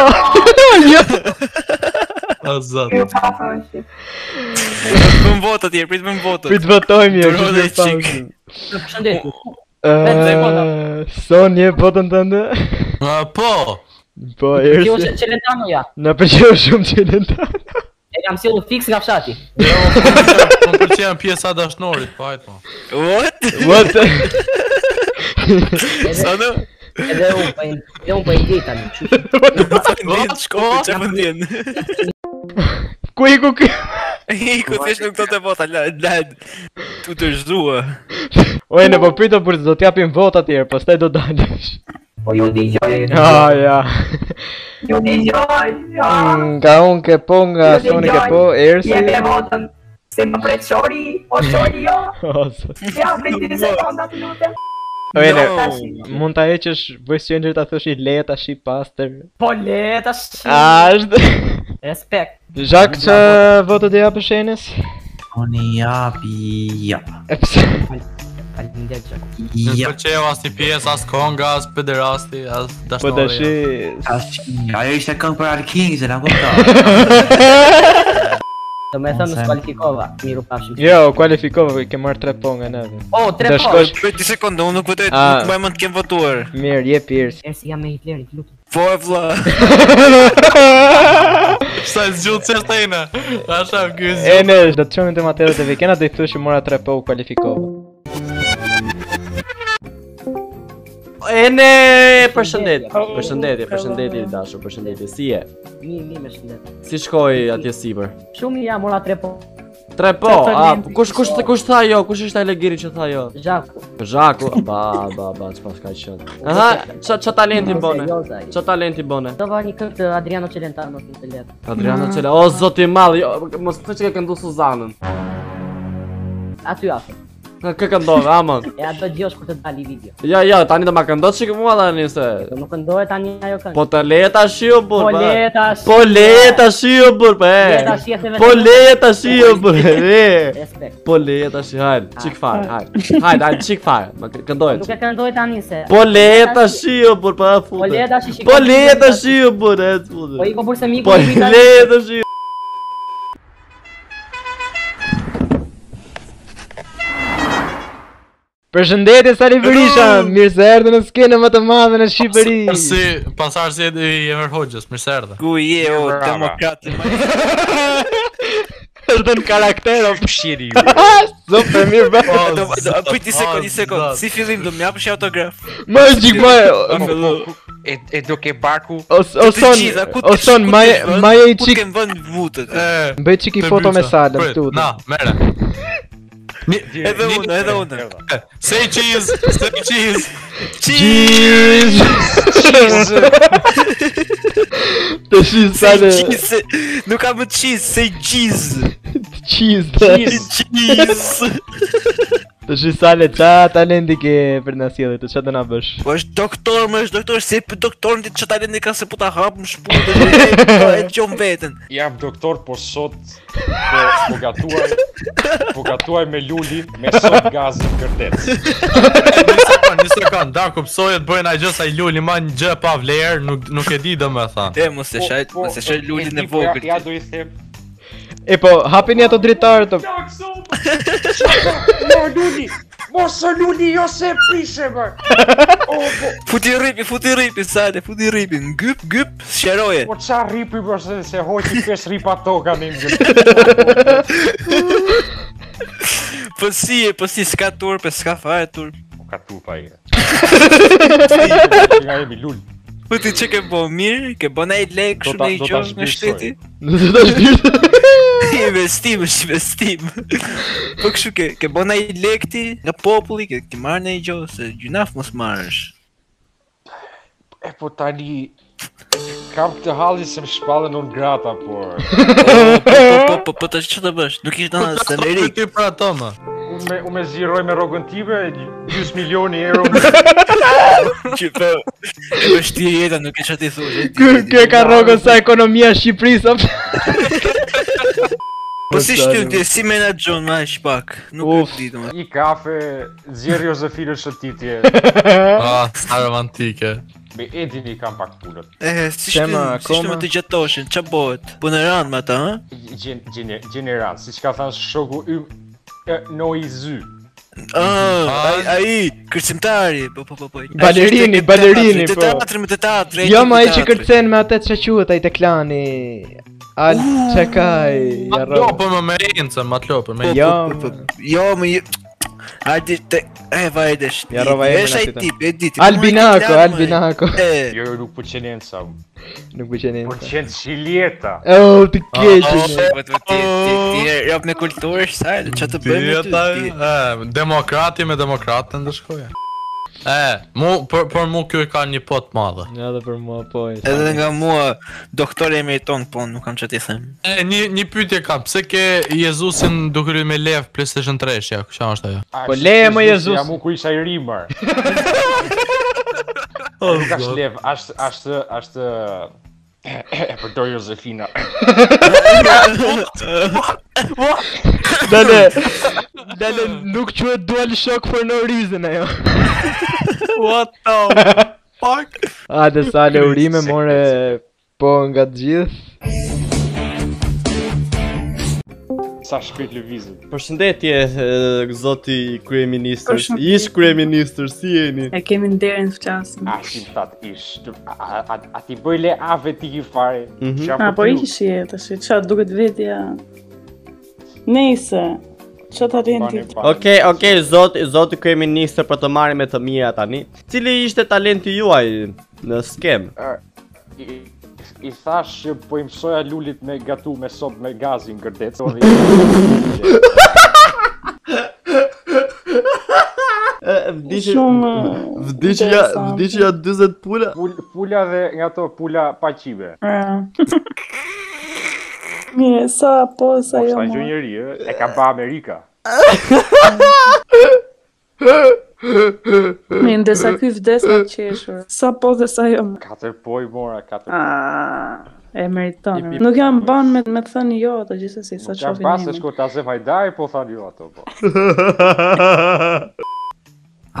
jo, jo. O zot. Ju papa o <laughs> shit. Prit më votë atje, prit më votë. Prit votojmë jo, Tërhode kishte qik. pauzë. Përshëndetje. Ëh, Sonje botën tënde? A po. Po, Kjo ersi. është Celentano ja. Na pëlqeu shumë Celentano. E kam sjellur fix nga fshati. <laughs> Po më pëlqen pjesa e dashnorit, po hajt mo. What? <laughs> What? Sono? Edhe unë po i- edhe unë po e i ndjej tani. kështu që- Ndjen shkopi, që më ndjen. Ku iku ky? Iku thjesht nuk do të vota, la, la, tu të zhua. Oj, ne po pritëm për do t'japim vot atëherë, pastaj do dalësh. Po ju dëgjoj. Ah, ja. Ju dëgjoj. ja. Mm, Nga unë ke po, nga Ju Soni ke dëgjoj. po, ersi. Jep e <laughs> votën. Se më pret shori, o shori jo. O, zot. Ja, prit 30 sekonda të tá?" lutem. Oj, ne, Tash, mund ta heqësh voice changer ta thosh i le tash i pastër. Po le tash. A, është... Respekt. Zhak, që votët e japë shenës? Unë japi, jap. E pse? Faleminderit Jaku. Nuk pëlqeu as një pjesë, as konga, as pederasti, as Po dashnori. tash i... Tash, ajo ishte këngë për Arkings, e na <laughs> kuptoj. Do me thënë së kualifikova, miru pafshim. Jo, kualifikova, ke marrë tre po nga neve. O, tre Do po. shkosh- Prit një sekondë, unë nuk votoj, Ah. nuk më mund të kem votuar. Mirë, jep Ersi. E si jam me Hitlerit, lutem. Po e vlla. <laughs> Sa zgjut se shtejna. Asha ky E zgjut. ne, do të qëmë të materat e vikena dhe i thush që mora 3 po u kualifikova. E ne, përshëndetje, përshëndetje, përshëndetje i dashur, përshëndetje, si je? Mi, mi me shëndet. Si shkoj atje sipër? Shumë ja, mora tre po. Tre Tre po, po- a, fragmente. kush, kush, kush tha jo, kush është Alegiri që tha jo? Zhaku. Zhaku, ba, ba, ba, që pas ka qënë. Aha, qa, qa talenti bone? Qa talenti bone? jo, Do va një këngë të Adriano Celentano në të Mm, letë. Adriano Qele, o, zoti madh, jo, mos të që ka këndu Suzanën. Aty afër. Kë këndove, amon. E atë do djosh kur të dali video. Ja, ja, Jo, tani do ma këndot që këmua tani se... Do nuk këndohet tani ajo këngë. Po të leta shio, bur, Po le tash. Po leta shio, bur, po e. Le tash, je se me- Po leta shio, bur, <laughs> e. Respekt. Ah, Po leta shio, hajde, qik fare, hajde, hajde, hajde, qik fare, ma kë- këndojnë. Nuk e këndoj tani se. Po leta shio, bur, po e fute. Po le tash i shikoj. Po leta shio, bur, e të fute. Po i po burse miku. Po i vi tani. leta shio. Përshëndetje Sali Berisha, mirë se erdhe në skenën më të madhe në Shqipëri. Si pasar si e Emer Hoxhës, mirë se erdhe. Ku je o demokrat? Është në karakter o pshiri ju. Super mirë po, bë. Prit një sekondë, një sekondë. Si fillim do më japësh autograf? Më gjik më E, e do ke barku O o son o son më më i çik kem vënë vutët. bëj çik i foto me Salën këtu. Na, merre. Edhe unë, edhe unë. Say cheese, say cheese. Cheese. Të shi Salë Cheese. Nuk ka më cheese, say <laughs> cheese. cheese. Cheese. Të shi Salë ça talenti ke për na sjellë, të çfarë do na bësh? Po është doktor, më është doktor, se për doktorin ti çfarë talenti ka se po ta hap më shpunë dhe dhe- po e gjom veten. Jam doktor, po sot po, po gatuaj Po gatuaj me luli me sot gazin kërdet Një sekond, Darko psoje të bëjnë ai gjë sa i luli ma një gjë pa vlerë, nuk nuk e di domethënë. Te mos Po, e shaj, mos e shaj lulin e vogël. Ja do i them E po, hapini ato dritarë të Mo luli Mos o luli jo se prishe bër O po Futi ripi, futi ripi, sade, futi ripi, ngyp, gyp, sqaroje. Po qa ripi bër se se hoqi pesh ripa toka në imgjë Po si e, po si s'ka turpe, s'ka fare turpe. Po Ka tupa <laughs> i Nga jemi lul. Po ti që ke bo mirë, ke bo nej lek, Do shumë ta- e i do ta qërë në zbrisoj. shteti. Do ta <laughs> Investim, është investim. Po kështu ke, ke bo nej lek ti nga populli, ke, ke marrë nej gjo, se gjynaf mos marrësh. E po tani Kam të halli se më shpallën unë grata por Po, po, po, po, të që të bësh, nuk ishtë në Po scenerik. ti pra ato më. Unë me, unë me ziroj me rogën time Gjus milioni euro Që po, e bësh ti jeta, nuk e që ti thuj. e ti- Ky ky e ka rrogën sa ekonomia e Shqipërisë. apo? Po si shtu ti, si menaxhon më aq pak. Nuk e di domo. I kafe Zjerë Jozefinën shëtitje Ah, sa romantike. Me Edin i kam pak pullët. E, si shkrim, si shkrim të gjatoshin, qa bëhet? Punë ranë me ta, ha? Gjen, gjen, general, si që ka thanë shoku ym, e, no i zy. Ah, ai, ai, kërcimtari, po, po, po, po. Balerini, balerini, po. Të po. teatri, me të teatri, Jo, ma ai që kërcen me atë që quhet ai teklani. Al çakaj. Ma të lopën me merincën, ma të lopën me Jo, Jo, më... Hajde, te... E, vajde, shti. Ja, rova emrin Vesh ai aty ta. tip, e diti. Albinako, Albinako. Jo, jo, nuk pëlqen enca. Nuk pëlqen enca. Pëlqen Po Shilieta. Ah. Oh, ti keq. Ti, ti, ti, jap me kulturë, sa, që të bëjmë me ty? ti? e, demokrati me demokratën ndëshkoja. E, mu, për, për mu kjo i ka një pot madhe. Ja, dhe për mua po. Edhe nga mua, doktori emeriton, po, nuk kam që t'i them. E, një, një pytje kam, pse ke Jezusin duke me lev PlayStation 3 ja, kësha është ajo? A, Po shi- leje, mo, Jezusi, Jezus. Ja mu ku isha i <laughs> rimër. Oh, Nuk është lev, është, është, është... E jo përdoj <laughs> Josefina. <laughs> Dale, dale, nuk quhet dual shock for no reason <laughs> ajo. <laughs> What the fuck? A dhe sa le urime more po nga <laughs> të gjithë. Sa shpejt lëvizën. Përshëndetje e, zoti kryeministër. Përshëndetje. Ish kryeministër, si <laughs> jeni? E kemi nderin të flasim. A si më thatë ish, të- a, a, a, a ti bëj le ave ti i fare, Mhm. që A, po i kishi e të shi, qa duket vetja... Nejse, që të rrindi të... Okej, okej, zoti zoti kryeministër për të marrë me të mira tani. Cili ishte talenti juaj në skem? Ë, i, i thash që po i mësoja lulit me gatu me sop me gazin gërdet thonë po i- Vdiqi eh, vdiqi ja vdiqi ja 40 pula. Pul, pula dhe nga to pula pa qive Jo, <laughs> Mire, Pra. sa po, sa jo Sa gjë më... njëri, e, e ka ba Amerika Mire, ndërsa ky vdes nga qeshur. Sa po dhe sa jo më... Katër po i mora, katër po Ah, e meriton. e meriton. Nuk jam ban me, me të thënë jo, të gjithsesi, sa Qa qofin pas e nimi. shko të azem hajdari po thanë jo ato po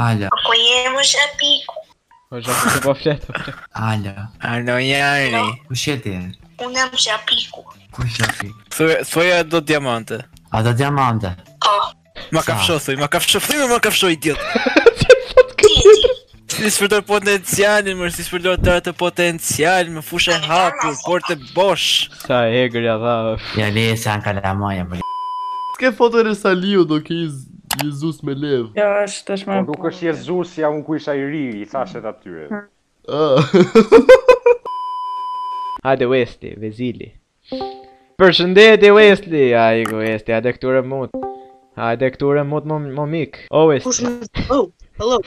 Ala, Ku je më shapiku? Po zhapë se po flet. ala. Arno Jani. Kush je ti? Unë jam shapiku. Kush je ti? Thuja do diamante. A do diamante? Ma ka fsho, thuj, ma ka fsho, thuj, ma ka fsho i <laughs> djetë. Si shpërdor potencialin, mërë, si shpërdor të atë potencial, më fushë e hapur, por të bosh. Sa e hegër ja dha. Ja le se an kalamaja, bërë. Ke foton e Saliu do ke Jez- Jezus me lev. Ja, Jo, është tashmë. Po nuk është Jezus, jam unë ku isha i ri, i thashet atyre Hmm. <laughs> Hajde Westi, Vezili. Përshëndetje Wesley, ai ku Westi, hajde këture mut. Hajde këture mut mo, mo mik. O Kush Westi, më... Oh, hello.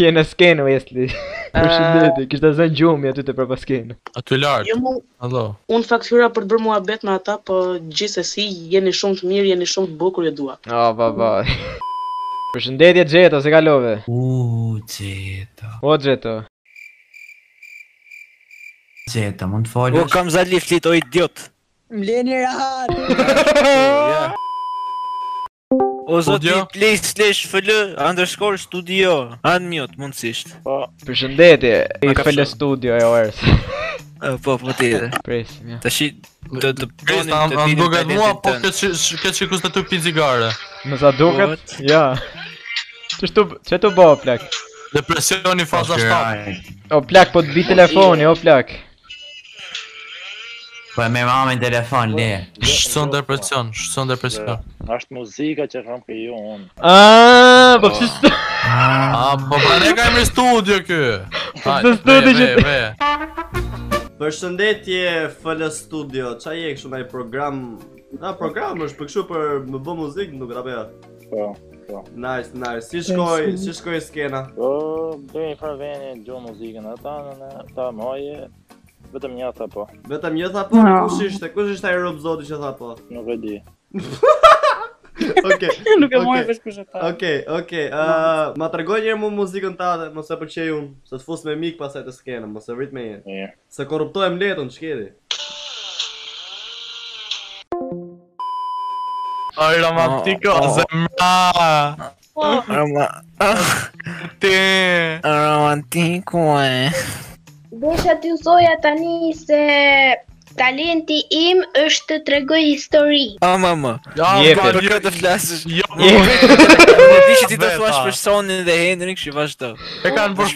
je në skenë <laughs> Ah. Wesley. Përshëndetje, kishte zënë gjumi aty te prapa skenë. Aty lart. Jo mu, Allo. unë faktyra për të bërë muhabet me ata, po gjithsesi jeni shumë të mirë, jeni shumë të bukur e dua. Ah, ba ba. <laughs> Përshëndetje Xheto, se kalove. U, Xheto. O Xheto. Xheto, mund të O, Po, folësh? kam za liflit, o idiot. Mleni <laughs> <laughs> rahat. Ja. O, Po, zoti, Studio? play slash fl, underscore studio. Unmute, mundësisht. Po, Përshëndetje, i Ka fele fshon. studio e orës. po, po tjetër. <laughs> Presim, ja. Tashi, do të Pris, bënim am, të am dinim duket mua, talentin po tënd. këtë që- këtë që kusë të tupi cigare. Më sa duket? Ja. Çështu, çetu bë plak. Depresioni faza 7. O plak, po të bi jo. telefoni, o plak. Po me mamën telefon, le. Shqson depresion, shqson depresion. Është muzika që kam kriju unë. Ah, po pse <laughs> st- Ah. A, po pra ne ka emri studio ky. Hajde, Në studio ve, që- ve, ve. Përshëndetje FL Studio, qa je kështu ndaj program... Na, program është për kështu për më bë muzikë, nuk apo jo? Po, po. Nice, nice. Si shkoj, si shkoj skena? Po, bëj për veni, gjo muzikën ata, në në ta moje, vetëm një ata po. Vetëm një tha po, No. kush ishte? Kush ishte ai rob zoti që tha po? Nuk e <laughs> di. Okej. Nuk e okej. mori vesh kush e tha. Okej, okej. Ë, Ah. ma tregoj një herë mu muzikën tënde, mos e pëlqej unë, se të fus me mik pasaj të skenën, mos e vrit me një. Se korruptohem letën, ç'keti? Oj, romantiko, Oh, oh. zemra. Po. Roma... Ti... Romantiko e... Desha t'ju thoja tani se talenti im është të tregoj histori. A mama. Ja, po për këtë flasësh. Jo. Po di që ti do thuash për Sonin dhe Henrik, kështu vazhdo. E kanë bërë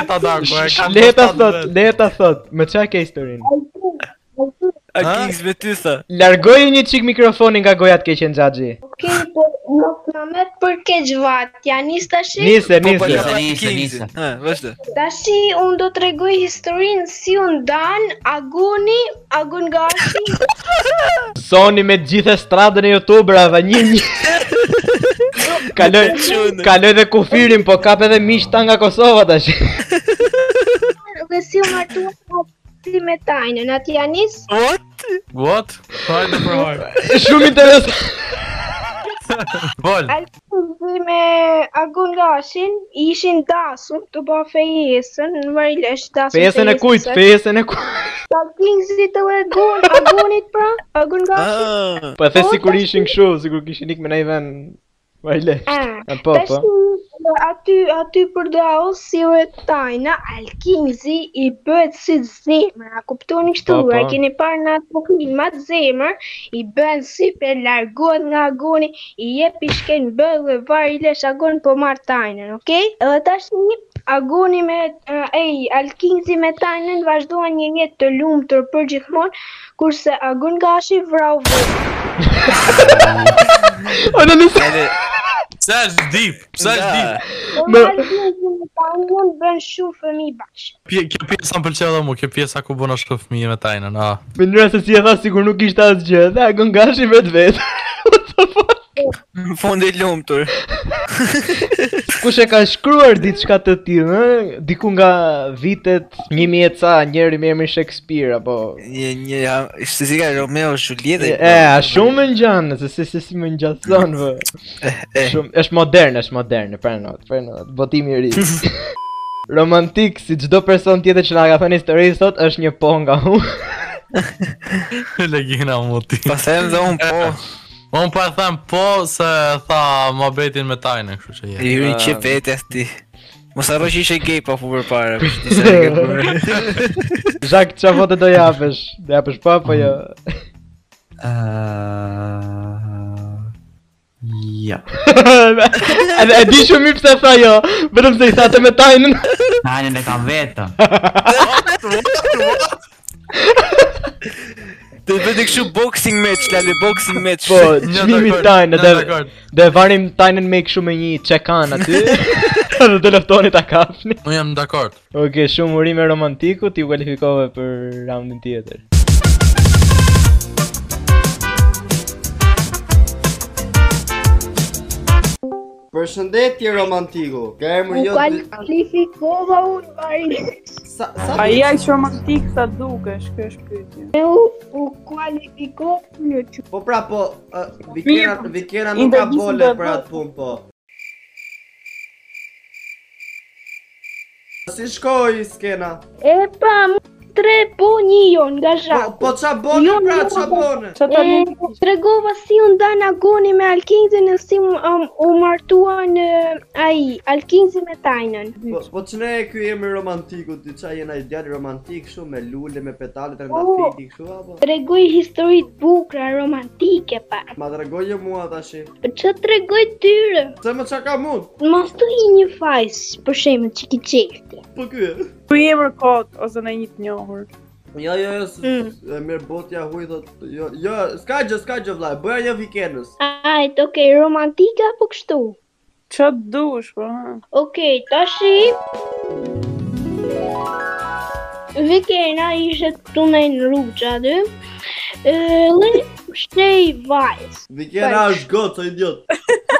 veta Darko, e kanë Le ta thot, le ta thot, me çfarë ke historinë? A Kings me ty tha. Largoje një çik mikrofonin nga gojat ke qenë xhaxhi. Okej, po nuk më met për keq vat. Ja nis tash. Po, Nise, nise. Ha, vazhdo. Tashi unë do t'rregoj historinë si u ndan Aguni, Agun Gashi. Soni me gjithë stradën e youtuberave një një. Kaloj, kaloj dhe kufirin, po kap edhe miqta nga Kosova tash. dhe si u martua si me Tajnën. Atë ja nis. What? What? Hajde provoj. Shumë interesant. Vol. Alkuzi me Agun Gashin ishin dasur të bë fejesën në Marilesh dasur. Pesën e kujt, pesën e kujt. Ta kingzi të Agun, Agunit pra, Agun Gashin. Po e the sikur ishin kështu, sikur kishin ikë me në vend Marilesh. Ah, Po, po. Aty, aty për daos si u e tajna, Alkingzi i bëhet si zemër, a kuptoni kështu, Po, po. e keni parë në atë poklimat zemër, i bëhen si për largohet nga agoni, i jep i shken bëllë dhe varë i lesh agon po marë tajnën, okej? Edhe tash një agoni me, uh, ej, Alkingzi me tajnën vazhduan një jetë të lumtur për gjithmonë, kurse agon gashi vrau vërë. O në nëse... Pse është deep? Pse është deep? Më Alkingzi me tajnën bën shumë fëmi bashkë. Pje- Kjo pjesa më pëlqeu dhe mu, kjo pjesa ku bën është fëmijë me tajnën, a. Mënyra se si e tha sikur nuk ishte asgjë, dhe Agun Gashi vetë vetë. <laughs> Në fund e lumtur. Kush e ka shkruar diçka të tillë, ë? Diku nga vitet 1000 e ca, njëri me emrin Shakespeare apo Një një ha- ishte si ka Romeo Julieta. E, a shumë më ngjan, se si si, si më ngjason vë. Shumë është modern, është modern, për not, për not, botimi i <laughs> ri. Romantik si çdo person tjetër që na ka thënë histori sot është një po nga unë. <laughs> Legjina muti. Pa them dhe un <laughs> po. Un pa them po se tha mohabetin me tajnën, kështu që je. I hyri që vete ti. Mos harro që ishe gay pa fu përpara. për shtë disa herë këtë bërë. <laughs> Zhak, çfarë vote do japësh? Do japësh pa apo jo? Ja. <laughs> Edhe e di shumë mirë pse tha jo, vetëm se i tha të me tajnën. <laughs> Tajnën e ka vetëm. Të bëti kështu boxing match, lale boxing match. <laughs> <laughs> Po, çmimi tajnë, dhe dhe varim tajnën me kështu me një çekan <laughs> aty. Edhe të luftoni ta kapni. Unë jam dakord. Okej, shumë urime romantiku, ti u kualifikove për raundin tjetër. Përshëndetje romantiku. Ka U emër jo kualifikova unë pari. Sa, A je aq romantik sa dukesh, kjo është pyetja. E u, u kualifikova në që... Po pra, po, Vikera, Vikera nuk ka bole për atë punë, po. Si shkoi skena? E pa, mu tre po një jon nga zhaku. po qa bone, pra, qa bone? Qa ta E, bone? tregova si u ndan agoni me Alkingzin e si um, u martuan uh, ai, Alkingzi me Tajnën. Po, po që ne e ky emër romantiku, ti qa jena i djali romantik shumë, me lule, me petale, të Po. rëndafiti, kështu apo? Tregoj historit bukra, romantike pa. Ma tregojë mua tash. Që tregoj tyre? Se më qa ka mund? Mos të i një fajs, për shemë që ki qefti. Po ky e? Ku emër kot, ose në një të njohur. Jo, jo, jo, s- Mm. e mirë botja huj thot, jo, jo, s'ka gjë, s'ka gjë vllai, bëja një vikendës. Ajt, okej, romantika apo kështu? Që të dush, po ha. Okej, tashi... Vikena ishe këtu me në rrugë aty. Dhe shtej vajz. <laughs> Vikena është gotë, sa idiot.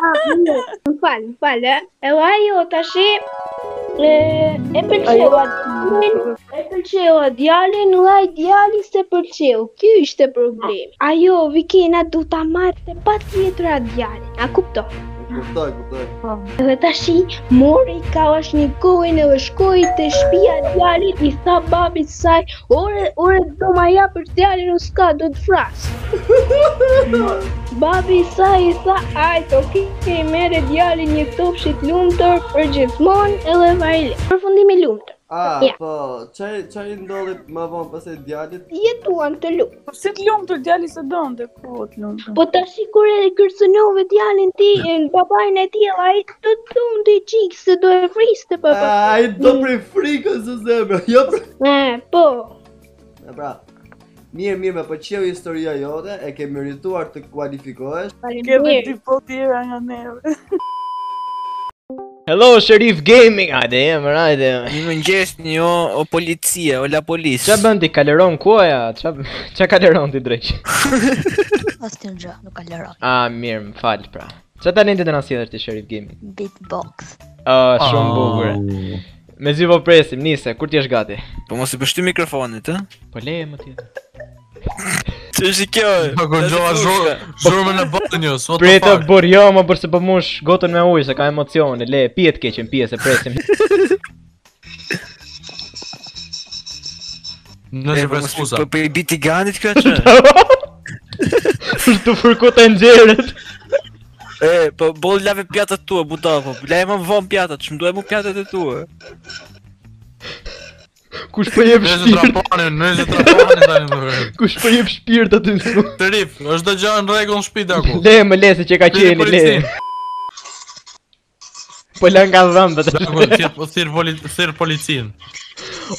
Më falë, më falë, e va jo tashi e, e pëlqeu djalin, e pëlqeu djalin, dhe ai djali se pëlqeu. Ky ishte problemi. Ajo Vikina du ta marrte patjetër atë djalin. A kupton? Kuptoj, kuptoj. Po. Dhe tashi mori ka është një kohën edhe shkoi te shtëpia e djalit i tha babit saj, "Ore, ore do ma japësh djalin unë s'ka do të fras." Babi i saj i tha, "Ajt, okay, ke merë djalin një topshit lumtur për gjithmonë edhe vajle." Përfundimi lumtur. A, Ja. po, çaj çaj ndodhi më vonë pas e djalit. Jetuan të lumë. Pse Po të lumë të djali se donte ku të lumë? Po tash kur e kërcënove djalin ti, në babain e tij, ai të thundi çik se do e vriste po, baba. Ai do Mm. prej frikës së zemrës, jo prej E, po. E pra. Mirë, mirë, më pëlqeu historia jote, e ke merituar të <laughs> kualifikohesh. Kemi dy po tjera nga neve. Hello, Sherif Gaming! Hajde, jem, hajde. Mëngjes një o, o policia, o la polis. Qa bën ti kaleron kuaja? Qa, qa kaleron ti <laughs> drejq? Asnjë gjë, nuk ka lëra. A, mirë, më falë pra. Qa talentit e në sjellër ti Sherif Gaming? Beatbox. A, shumë bukur. Me zy po presim, nise, kur ti je gati? Po mos i bështy mikrofonit, ë? Po leje më tjetër. <laughs> Që është kjo? Po gëngjova zhur- zhurmën e banjës, what the Pritë fuck? bur jo, më bërë se për mush gotën me ujë, se ka emocione, le, pijet keqen, pije se presim. Nëse për skuza. Po për i biti ganit kjo që? Për të fërku të nxerët. E, po bol lave pjatët tua, buta, po lave më vonë pjatët, që mdoj mu pjatët e tua. Kush po jep Nëse shpirt? trapanin, nëse trapanin tani më vjen. Kush po jep shpirt aty në sku? Terif, është do gjë në rregull në shtëpi aku. Le, më le, se që ka Pyetje qeni, le. Po lën nga dhëmbët. Daku, po thirr- thirr poli- thirr policin.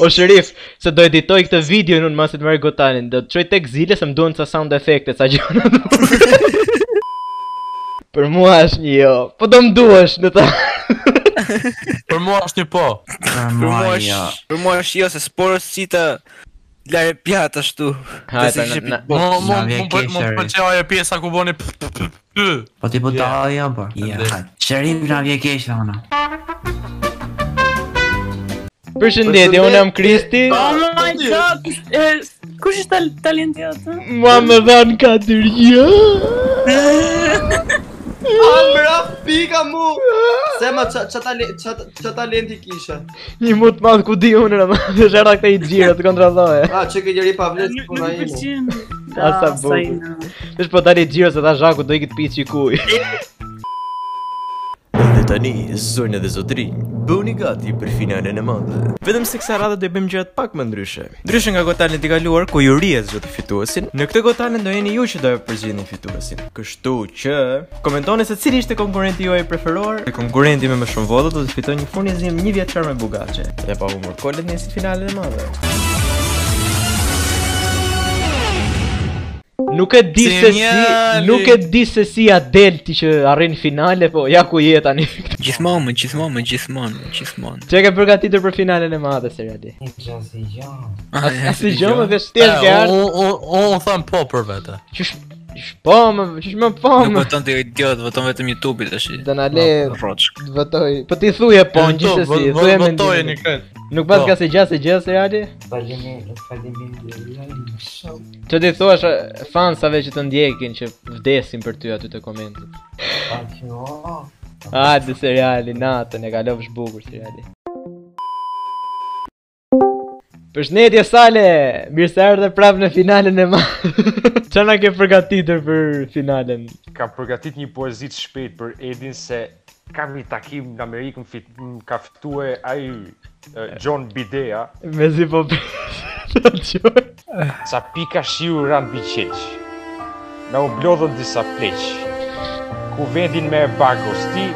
O shërif, se do editoj këtë video në masit mërë gotanin, do të qoj tek zile se më duhen ca sound effekte, ca <laughs> gjona Për mua është një jo, po do më duhesh në ta. <laughs> Për mua është një po. Për mua jo. është, për mua është jo, se sporës qita lare pjatë ashtu. Ha, Të si ishe Mo beatbox. mo mo pëlqeu ajo pjesa ku boni. p- p- p- p- Po ti po ta ajo po. Ja, Ende. hajde. Shërif na vje keq ona. Përshëndetje, e unë jam Kristi. Oh my god, e, kush është tal- talenti atë? Ma më dhanë ka dyrja. <laughs> A mra pika mu. Se ma ç ç talent ç talenti kishe. Një mut madh ku di unë në madh, <laughs> është era këta i gjirë të kontralloje. A çka gjeri Pavlet puna ime. A sa bukur. Është po dali gjirë se ta zhaku do i këtë pi qikuj. Dhe tani, zonja dhe zotrinj, bëni gati për finalen e madhe. Vetëm se kësa radhë do i bëjmë gjërat pak më ndryshe. Ndryshe nga gotalin i kaluar ku ju rihet zoti fituesin, në këtë gotalin do jeni ju që do e përgjithni fituesin. Kështu që komentoni se cili ishte konkurrenti juaj i preferuar. Dhe konkurrenti me më shumë vota do të fitojë një furnizim një vjeçar me bugaçe. Dhe pa humor kolet në finalen e madhe. Nuk e di se si, Sinjali. nuk e di se si ja del ti që arrin finale, po ja ku je tani. Gjithmonë, më gjithmonë, më gjithmonë, më gjithmonë. Çe ke përgatitur për finalen e madhe seriali? As- asnjë gjë, më vesh thjesht ke ardhur. Unë tham po për vete. Qysh qysh po më, qysh më po Nuk më. voton të idiot, voton vetëm YouTube-i tash. Do na le të votoj. Po ti thuje po Jo, gjithsesi, vo- vo- thuje me votojeni ndimin. kret. Nuk pas Po. ka se gjë se gjë seriali? Faleminderit, faleminderit shumë. Që ti thuash e, fansave që të ndjekin që vdesin për ty aty të komentit. Ajo. Hajde seriali, natën e kalofsh bukur seriali. Përshëndetje Sale, mirë se erdhe prapë në finalen <laughs> e madhe. Çfarë na ke përgatitur për finalen? Ka përgatit një poezi të shpejt për Edin se kam një takim në Amerikë më fit, më ka fitue ai eh, John Bidea Me zi po <laughs> sa pika shiu ran biqeq. Na u blodhën disa pleq. Ku vendin me Bagosti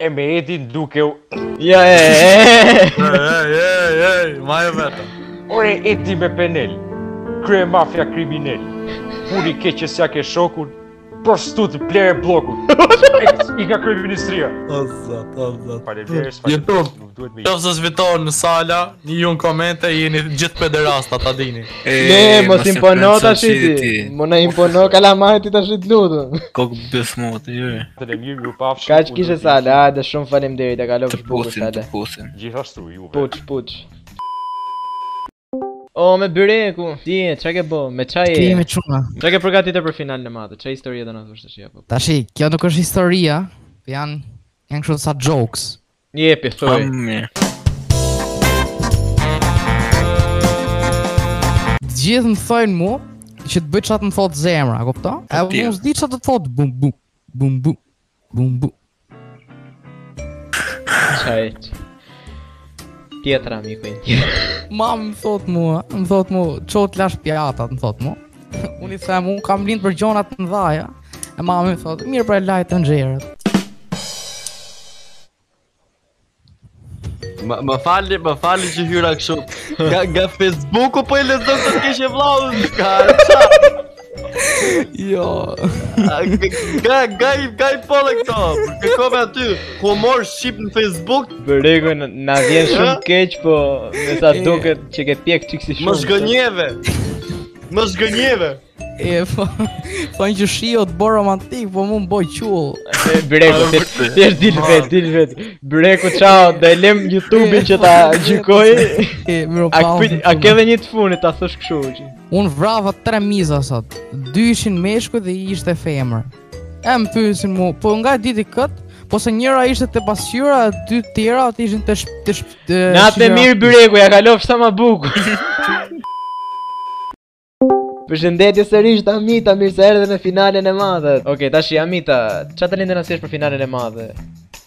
e me Edin duke u Ja e e e e ma e vetë. Ore Edi me Penel. Krye mafia kriminel. Puri keqe se ja ke shokun. Prostut plere blokut. E- I nga kryeministria. O zot, o zot. Faleminderit, YouTube. faleminderit. Nuk duhet me Qoftë se zvitohen në sala, ju në komente jeni gjithë pederasta, ta dini. Ne, mos impono tash ti. Mo na impono kalamari ti tash të lutem. Kok besmot, jo. Të le mirë ju pafsh. Kaç kishe Sale, hajde shumë faleminderit, e kalofsh bukur Pusin, të Sale. pusin. Gjithashtu juve. Puç, puç. O, me byreku, ti, çka ke bë, me çaj e? Ti me çuna. Çka ke përgatitur për finalen e madhe? Çfarë historie do na thosh tash apo? Tashi, kjo nuk është historia, po janë janë kështu sa jokes. Jepi, thuaj. Të gjithë më thojnë mu që të bëj çat më thot zemra, kupton? E tjerë. unë s'di çat të thot bum bum bum bum bum bum. Çaj. tjetra, miku im. Ma më thot mua, më thot mua, qot lash pjatat, më thot mua. <laughs> Unë i them, unë kam lindë për gjonat në dhaja. E mami më thot, mirë pra e lajtë të nxerët. Më më falni, më falni që hyra kështu. Nga nga Facebooku po e lexoj se kishe vllaun ka. Jo. Ga ga ga po le këto. Kërkove aty humor shqip në Facebook. Bëregu në- na vjen shumë keq, po me sa duket që ke pjek çik si shumë. Më zgënjeve. Më zgënjeve. E, po, po që shio të bo romantik, po mu më boj qull. E, Breku, thjesht thjesht dil vet, dil vet. Breku, ciao, do e lëm YouTube-in që <laughs> ta gjykoj. E, mirë A pa, kpi- unë- a ke edhe një të funit, ta thosh kështu që. Unë vrava tre miza sot. Dy ishin meshkuj dhe i ishte femër. E më pyesin mu, po nga diti kët, po se njëra ishte te pasqyra, e dy tjera atë ishin te shp- te shp- te Natë e shqyra. mirë Breku, ja kalof sa më bukur. <laughs> Përshëndetje sërish Amita, mirë se erdhe në finalen e madhe. Okej, tash Amita, çfarë të lindën asnjësh për finalen e madhe?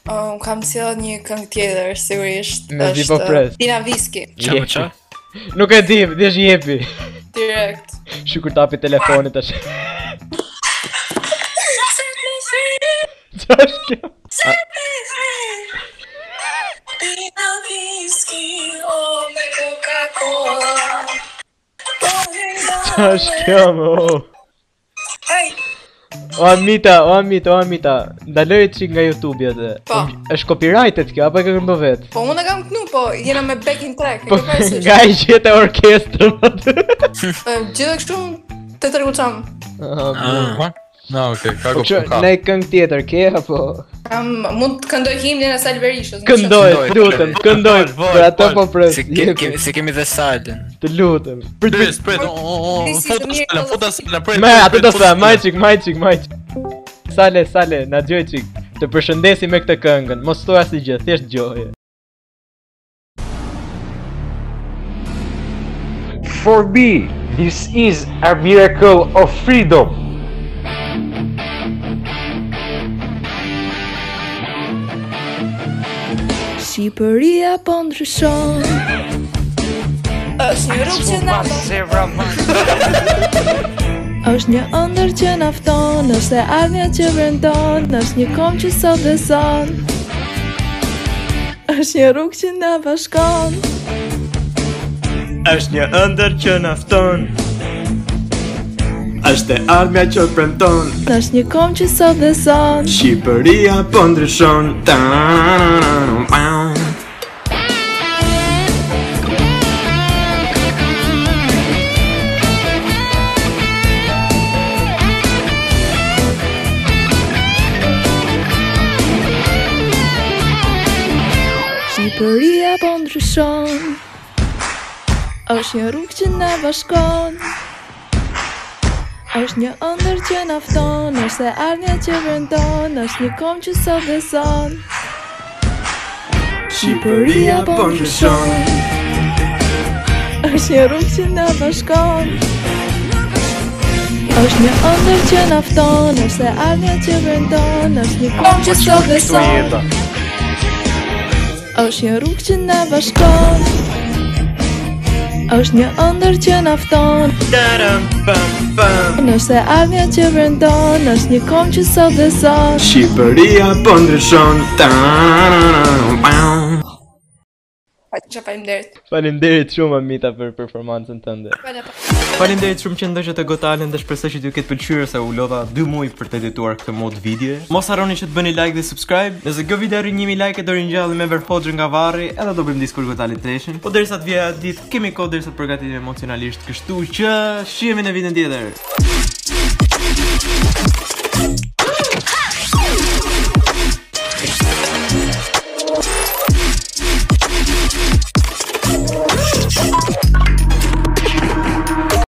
Um, kam sjell një këngë tjetër, sigurisht. Me zi është, po pres. uh, Tina Viski, Jepi. Nuk e di, dhe është jepi. direkt. Shukur tapi telefonit <laughs> tash. Çfarë është kjo? Tina Viski, oh me Coca-Cola. Çfarë është kjo më? o? O Amita, o Amita, o Amita, ndaloj çik nga YouTube-ja dhe. Po. Është copyrighted kjo apo e ke këndo vet? Po unë e kam kënu, po jena me backing track. Po e ke parasysh? <laughs> nga i gjete orkestrën atë. Eh, Gjithë kështu të tërguçam. Ah, Na, okay, ka Po ço, ne këngë tjetër ke apo? Kam mund të këndoj himnin e Salverishës. nuk Këndoj, shoh. lutem, këndoj. Për ato po pres. Se ke- kemi se kemi dhe salën. Të lutem. Pres, pres. o, o, o, Nisi të Foto mirë, sala, foto sala, pres. Me, pres, atë pres, do foto sa, sala. maj qik, maj qik, maj qik Sale, sale, na gjoj qik Të përshëndesim me këtë këngën, mos thua si gjë, thjesht gjoje For me, this is a miracle of freedom. Shqipëria po ndryshon Është një rrugë që na është një ëndër që na fton është e ardhmja që brendon është një kom që sot beson është një rrugë që na bashkon është një ëndër që na fton. Është e armja që premton, është një kom që sot beson Shqipëria po ndryshon. Ta-ra-ra-ra-ra-ra. Shqipëria po ndryshon është një rrugë që na bashkon është një ëndër që na fton është e ardhmja që brendon është një kom që sot beson Shqipëria po ndryshon. është një rrugë që na bashkon është një ëndër që na fton, është e ardhmja që brendon, është një kohë që sot beson, është një rrugë që na bashkon. Është një ëndër që na fton, Taram pam pam. është e ardhmja që brendon, është një kohë që sot beson. Shqipëria po ndryshon. Ta-ra-ra-ra-ra. Që faleminderit. Faleminderit shumë Amita për performancën tënde Faleminderit shumë që ndoqët të gotalen dhe shpresoj që t'ju ketë pëlqyer se u lodha 2 muaj për të edituar këtë mod video. Mos harroni që të bëni like dhe subscribe. Nëse kjo video rrin 1000 like do ringjallem me Ver Hoxhën nga varri, edhe do bëjmë diskur gotalit treshin. Po derisa të vijë atë ditë kemi kohë derisa të përgatitemi emocionalisht, kështu që shihemi në vitin tjetër. bashkon.